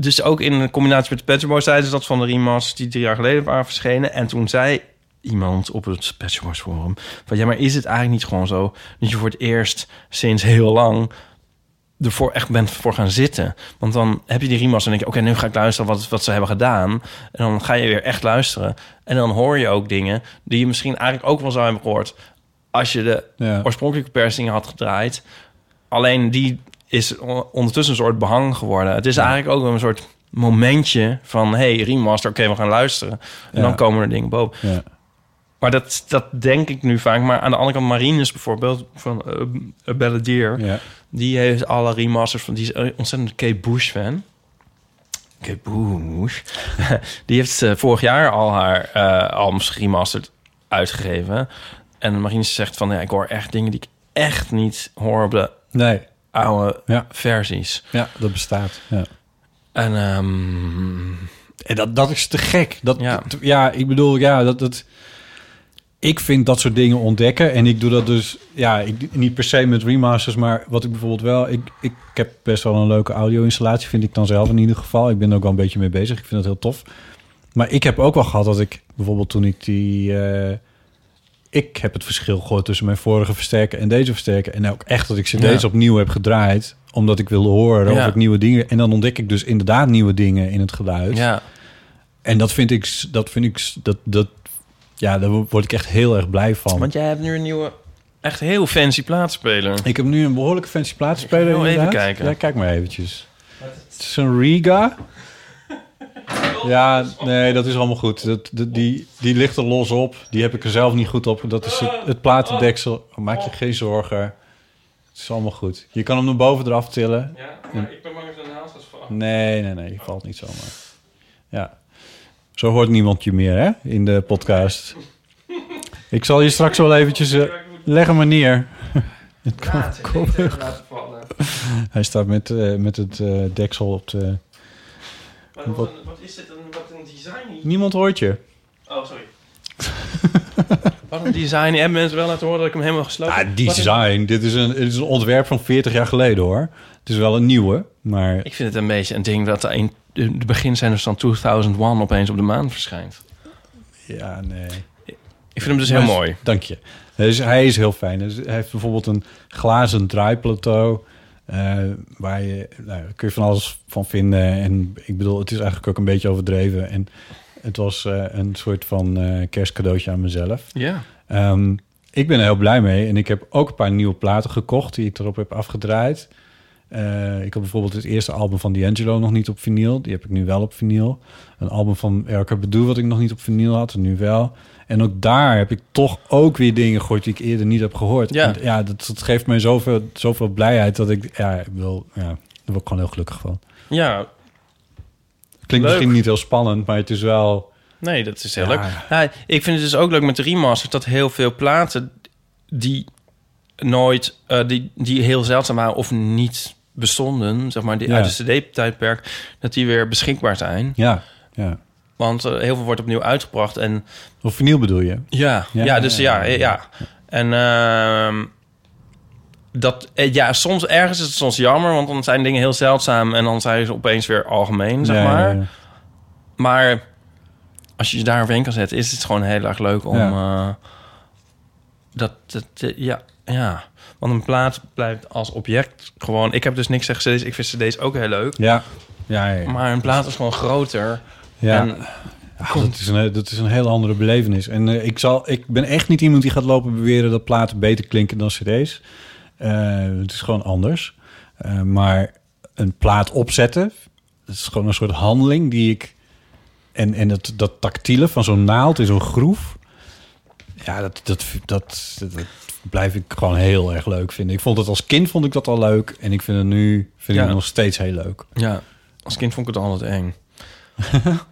Dus ook in combinatie met de Pet Shop Boys zeiden ze dat van de remasters... die drie jaar geleden waren verschenen. En toen zei iemand op het Pet Shop Boys forum... van ja, maar is het eigenlijk niet gewoon zo... dat je voor het eerst sinds heel lang ervoor echt bent voor gaan zitten. Want dan heb je die riemers en denk je... oké, nu ga ik luisteren wat, wat ze hebben gedaan. En dan ga je weer echt luisteren. En dan hoor je ook dingen die je misschien eigenlijk ook wel zou hebben gehoord... als je de Ja. oorspronkelijke persing had gedraaid. Alleen die is on- ondertussen een soort behang geworden. Het is eigenlijk ook een soort momentje van... hey, remaster, oké, we gaan luisteren. En Ja. dan komen er dingen boven. Ja. Maar dat, dat denk ik nu vaak. Maar aan de andere kant, Marinus bijvoorbeeld... van eh, eh Balladeer... Ja. Die heeft alle remasters van... Die is een ontzettend Kate Bush fan. Kaboes. <laughs> Die heeft eh, vorig jaar al haar eh albums geremasterd uitgegeven. En Marines zegt van... Ja, ik hoor echt dingen die ik echt niet hoor op de Nee, oude Ja. versies. ja, dat bestaat. Ja. En ehm, En dat, dat is te gek. Dat, Ja. ja. ja, ik bedoel, ja, dat, dat... Ik vind dat soort dingen ontdekken. En ik doe dat dus, ja, ik, niet per se met remasters. Maar wat ik bijvoorbeeld wel... Ik, ik, ik heb best wel een leuke audio-installatie, vind ik dan zelf in ieder geval. Ik ben er ook wel een beetje mee bezig. Ik vind dat heel tof. Maar ik heb ook wel gehad dat ik bijvoorbeeld toen ik die... eh, ik heb het verschil gehoord tussen mijn vorige versterker en deze versterker. En ook echt dat ik ze Ja. deze opnieuw heb gedraaid. Omdat ik wilde horen Ja. of ik nieuwe dingen... En dan ontdek ik dus inderdaad nieuwe dingen in het geluid. ja, En dat vind ik, dat vind ik, dat, dat, ja, daar word ik echt heel erg blij van. want jij hebt nu een nieuwe... Echt heel fancy plaatspeler. Ik heb nu een behoorlijke fancy plaatspeler Ik wil even inderdaad. kijken. Ja, kijk maar eventjes. Het is een Riga. Ja, nee, dat is allemaal goed. Dat, dat- die, die ligt er los op. Die heb ik er zelf niet goed op. Dat is het, het platendeksel. Maak je geen zorgen. Het is allemaal goed. Je kan hem naar boven eraf tillen. Ja, maar ik ben bang dat een naast was van... Nee, nee, nee. Je valt niet zomaar. Ja. Zo hoort niemand je meer, hè? In de podcast. Ik zal je straks wel eventjes... eh, leg hem maar neer. Het kan- <laughs> kom- Hij staat met, eh, met het eh, deksel op de... Wat, wat is dit? Een, wat een design hier? Niemand hoort je. Oh, <laughs> sorry. wat een design. Hebben mensen wel laten horen dat ik hem helemaal gesloten Ah, Wat een- design. Dit is, een, dit is een ontwerp van 40 jaar geleden, hoor. Het is wel een nieuwe, maar... Ik vind het een beetje een ding dat in de beginzenders van 2001 opeens op de maan verschijnt. Ja, nee. Ik vind hem dus heel Maar- mooi. Dank je. Dus hij is heel fijn. Dus hij heeft bijvoorbeeld een glazen draaiplateau. eh, waar je, nou, daar kun je van alles van vinden. En ik bedoel, het is eigenlijk ook een beetje overdreven. En het was eh, een soort van eh, kerstcadeautje aan mezelf. Ja. Ehm, ik ben er heel blij mee. En ik heb ook een paar nieuwe platen gekocht die ik erop heb afgedraaid. Eh, ik heb bijvoorbeeld het eerste album van D'Angelo nog niet op vinyl. Die heb ik nu wel op vinyl. Een album van Erika Bedoel wat ik nog niet op vinyl had, en nu wel. En ook daar heb ik toch ook weer dingen gehoord die ik eerder niet heb gehoord. Ja. En ja dat, dat geeft mij zoveel, zoveel blijheid dat ik... Ja, ik bedoel, ja, daar word ik gewoon heel gelukkig van. Ja, Klinkt Leuk. misschien niet heel spannend, maar het is wel... nee, dat is heel Ja. leuk. Ja, ik vind het dus ook leuk met de remasters dat heel veel platen die nooit, eh, die, die heel zeldzaam waren of niet bestonden, zeg maar, die Ja. uit het CD-tijdperk, dat die weer beschikbaar zijn. Ja, ja. Want eh, heel veel wordt opnieuw uitgebracht en Of vinyl bedoel je? Ja, ja, Ja, dus ja, ja, ja. En ehm, dat, eh, ja, soms ergens is het soms jammer, want dan zijn dingen heel zeldzaam en dan zijn ze opeens weer algemeen, zeg Ja, ja, maar. ja. Maar als je je daar overheen kan zetten, is het gewoon heel erg leuk om Ja. eh, dat, dat eh, ja, ja. Want een plaat blijft als object gewoon. Ik heb dus niks tegen CD's. Ik vind CD's ook heel leuk. Ja, ja, ja. ja. Maar een plaat is gewoon groter. ja. En Ja, Ah, dat, is een, dat is een heel andere belevenis. En eh, ik, zal, ik ben echt niet iemand die gaat lopen beweren dat platen beter klinken dan cd's. Eh, het is gewoon anders. Eh, maar een plaat opzetten, dat is gewoon een soort handeling die ik... En, en dat, dat tactiele van zo'n naald in zo'n groef... Ja, dat, dat, dat, dat, dat blijf ik gewoon heel erg leuk vinden. Ik vond het als kind vond ik dat al leuk. En ik vind het nu vind Ja. ik het nog steeds heel leuk. Ja, als kind vond ik het <laughs> altijd eng.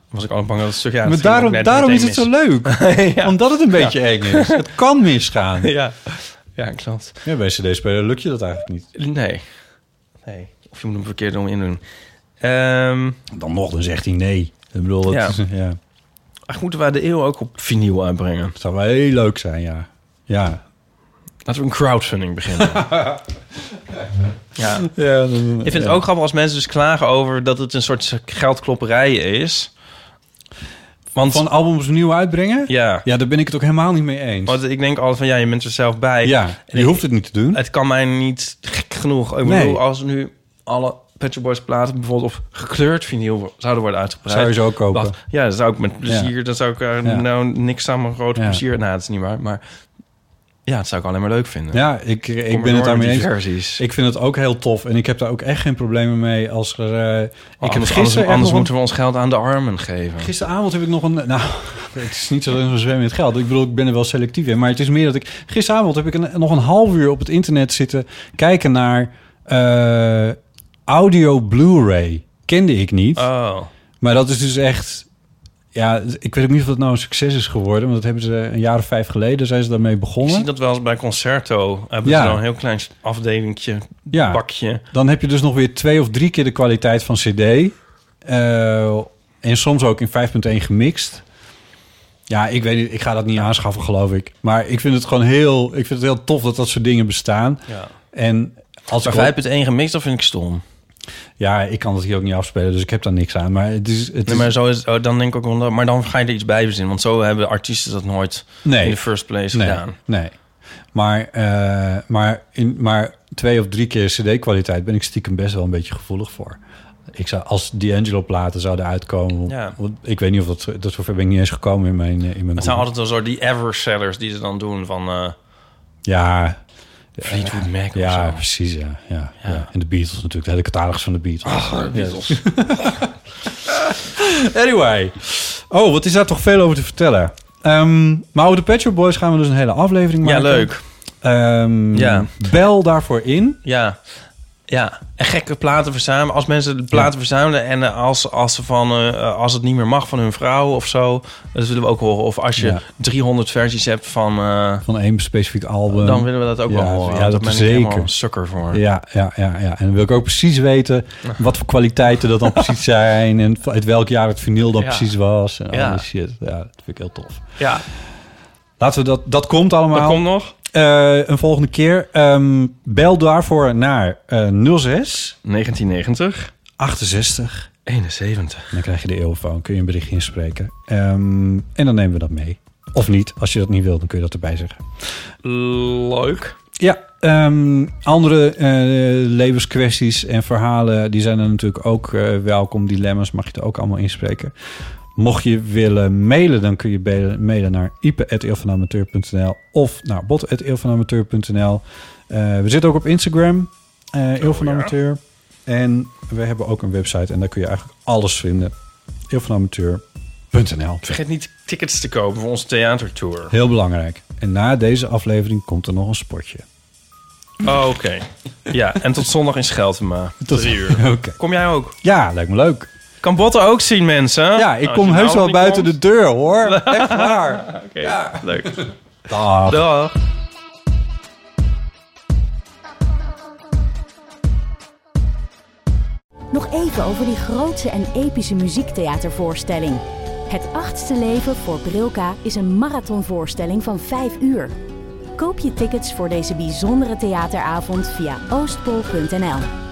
Was ik altijd bang dat het stuk... Ja, maar het ging ook daarom, net daarom is meteen het zo leuk. <laughs> mis. ja. Omdat het een beetje eng is. Het kan misgaan. <laughs> ja. ja, klopt. Ja, bij CD-speler lukt je dat eigenlijk niet. Nee. Nee. Of je moet hem verkeerd om in doen. Ehm, Dan nog, dan zegt hij nee. Ik bedoel, dat Ja. is, ja, eigenlijk moeten wij de eeuw ook op vinyl uitbrengen. het zou wel heel leuk zijn, ja. Ja. Laten we een <laughs> crowdfunding beginnen. ja. ja Ik vind het ook grappig als mensen dus klagen over dat het een soort geldklopperij is. Want, Van albums nieuw uitbrengen? ja. Ja, daar ben ik het ook helemaal niet mee eens. Want ik denk altijd van, ja, je bent er zelf bij. ja, je ik- hoeft het niet te doen. Het kan mij niet gek genoeg. Ik Nee. bedoel, als nu alle Pet Shop Boys platen bijvoorbeeld op gekleurd vinyl zouden worden uitgebracht. Zou je ze ook kopen? Wat- ja, dat zou ik met plezier. Dat zou ik eh, Ja. nou niks aan mijn grote Ja. plezier. Nou, dat is niet waar. Maar ja, dat zou ik alleen maar leuk vinden. Ja, ik, ik Kom ben maar het door daarmee met eens. die versies. Ik vind het ook heel tof. En ik heb daar ook echt geen problemen mee als er... eh, ik heb anders gisteren anders, echt anders nog een- moeten we ons geld aan de armen geven. Gisteravond heb ik nog een... <laughs> Nou, het is niet zo dat we zwemmen in het geld. Ik bedoel, ik ben er wel selectief in. Maar het is meer dat ik... Gisteravond heb ik een, nog een half uur op het internet zitten... kijken naar eh, audio Blu-ray. Kende ik niet. Oh, Maar dat is dus echt... Ja, ik weet ook niet of dat nou een succes is geworden. Want dat hebben ze een jaar of vijf geleden zijn ze daarmee Ik zie begonnen. dat wel eens bij Concerto. Hebben Ja. ze dan een heel klein afdelingtje, Ja. bakje. Dan heb je dus nog weer twee of drie keer de kwaliteit van CD. Eh, en soms ook in 5.1 gemixt. Ja, ik weet niet, ik ga dat niet aanschaffen, geloof ik. Maar ik vind het gewoon heel, ik vind het heel tof dat dat soort dingen bestaan. Ja. En als ik Maar 5.1 gemixt, dat vind ik stom. Ja, ik kan dat hier ook niet afspelen, dus ik heb daar niks aan. Maar het is, het Nee, is maar, zo is, oh, dan denk ik ook, wel, maar dan ga je er iets bij verzinnen. Want zo hebben artiesten dat nooit Nee. in de first place nee, gedaan. nee. Maar, eh, maar, in, maar twee of drie keer CD-kwaliteit ben ik stiekem best wel een beetje gevoelig voor. Ik zou, als D'Angelo-platen zouden uitkomen, Ja. want ik weet niet of dat, dat zover ben ik niet eens gekomen in mijn. eh, In mijn Het zijn boek. altijd wel zo die ever-sellers die ze dan doen van eh Ja, Fleetwood Mac ja, of zo. precies. Ja, ja, ja. En de Beatles natuurlijk, de hele catalogus van de Beatles. Beatles. <laughs> Anyway. Oh, wat is daar toch veel over te vertellen? Ehm, maar over de Pet Shop Boys gaan we dus een hele aflevering Ja, maken. leuk. Ehm, Ja. Bel daarvoor in. Ja. Ja, en gekke platen verzamelen. Als mensen de platen verzamelen en eh, als, als, ze van, eh, als het niet meer mag van hun vrouw of zo, dat willen we ook horen. Of als je Ja. 300 versies hebt van, eh, Van één specifiek album. dan willen we dat ook ehm, ja, wel horen. ja, Want dat daar is ben ik helemaal zeker. een sukker voor. Ja, ja, ja, ja. En dan wil ik ook precies weten wat voor kwaliteiten <laughs> dat dan precies zijn. En uit welk jaar het vinyl dan Ja. precies was. En Ja. al die shit. Ja, dat vind ik heel tof. Ja, Laten we dat... Dat komt dat allemaal. komt nog. Eh, een volgende keer. Ehm, bel daarvoor naar eh 06 1990, 68 71. En Dan krijg je de eeuwfoon, kun je een berichtje inspreken. Ehm, en dan nemen we dat mee. Of niet, als je dat niet wilt, dan kun je dat erbij zeggen. Leuk. Ja, ehm, andere eh, levenskwesties en verhalen, die zijn er natuurlijk ook eh, welkom. Dilemma's mag je er ook allemaal inspreken. Mocht je willen mailen, dan kun je belen- mailen naar ipe.eeuwvanamateur.nl of naar bot.eeuwvanamateur.nl. Eh we zitten ook op Instagram, eh Eeuw van Amateur. En we hebben ook een website en daar kun je eigenlijk alles vinden. eeuwvanamateur.nl. Vergeet niet tickets te kopen voor onze theatertour. Heel belangrijk. En na deze aflevering komt er nog een spotje. Oh, Oké. Ja, en tot zondag in Scheltema. Tot Drie uur. <laughs> Oké. Kom jij ook? Ja, lijkt me leuk. Kan Botte ook zien, mensen? Ja, ik Als kom je nou heus nog wel niet buiten komt. de deur hoor. Echt <laughs> waar. Oké, leuk. Dag. Dag. Nog even over die grootse en epische muziektheatervoorstelling. Het achtste leven voor Brilka is een marathonvoorstelling van 5 uur. Koop je tickets voor deze bijzondere theateravond via oostpol.nl.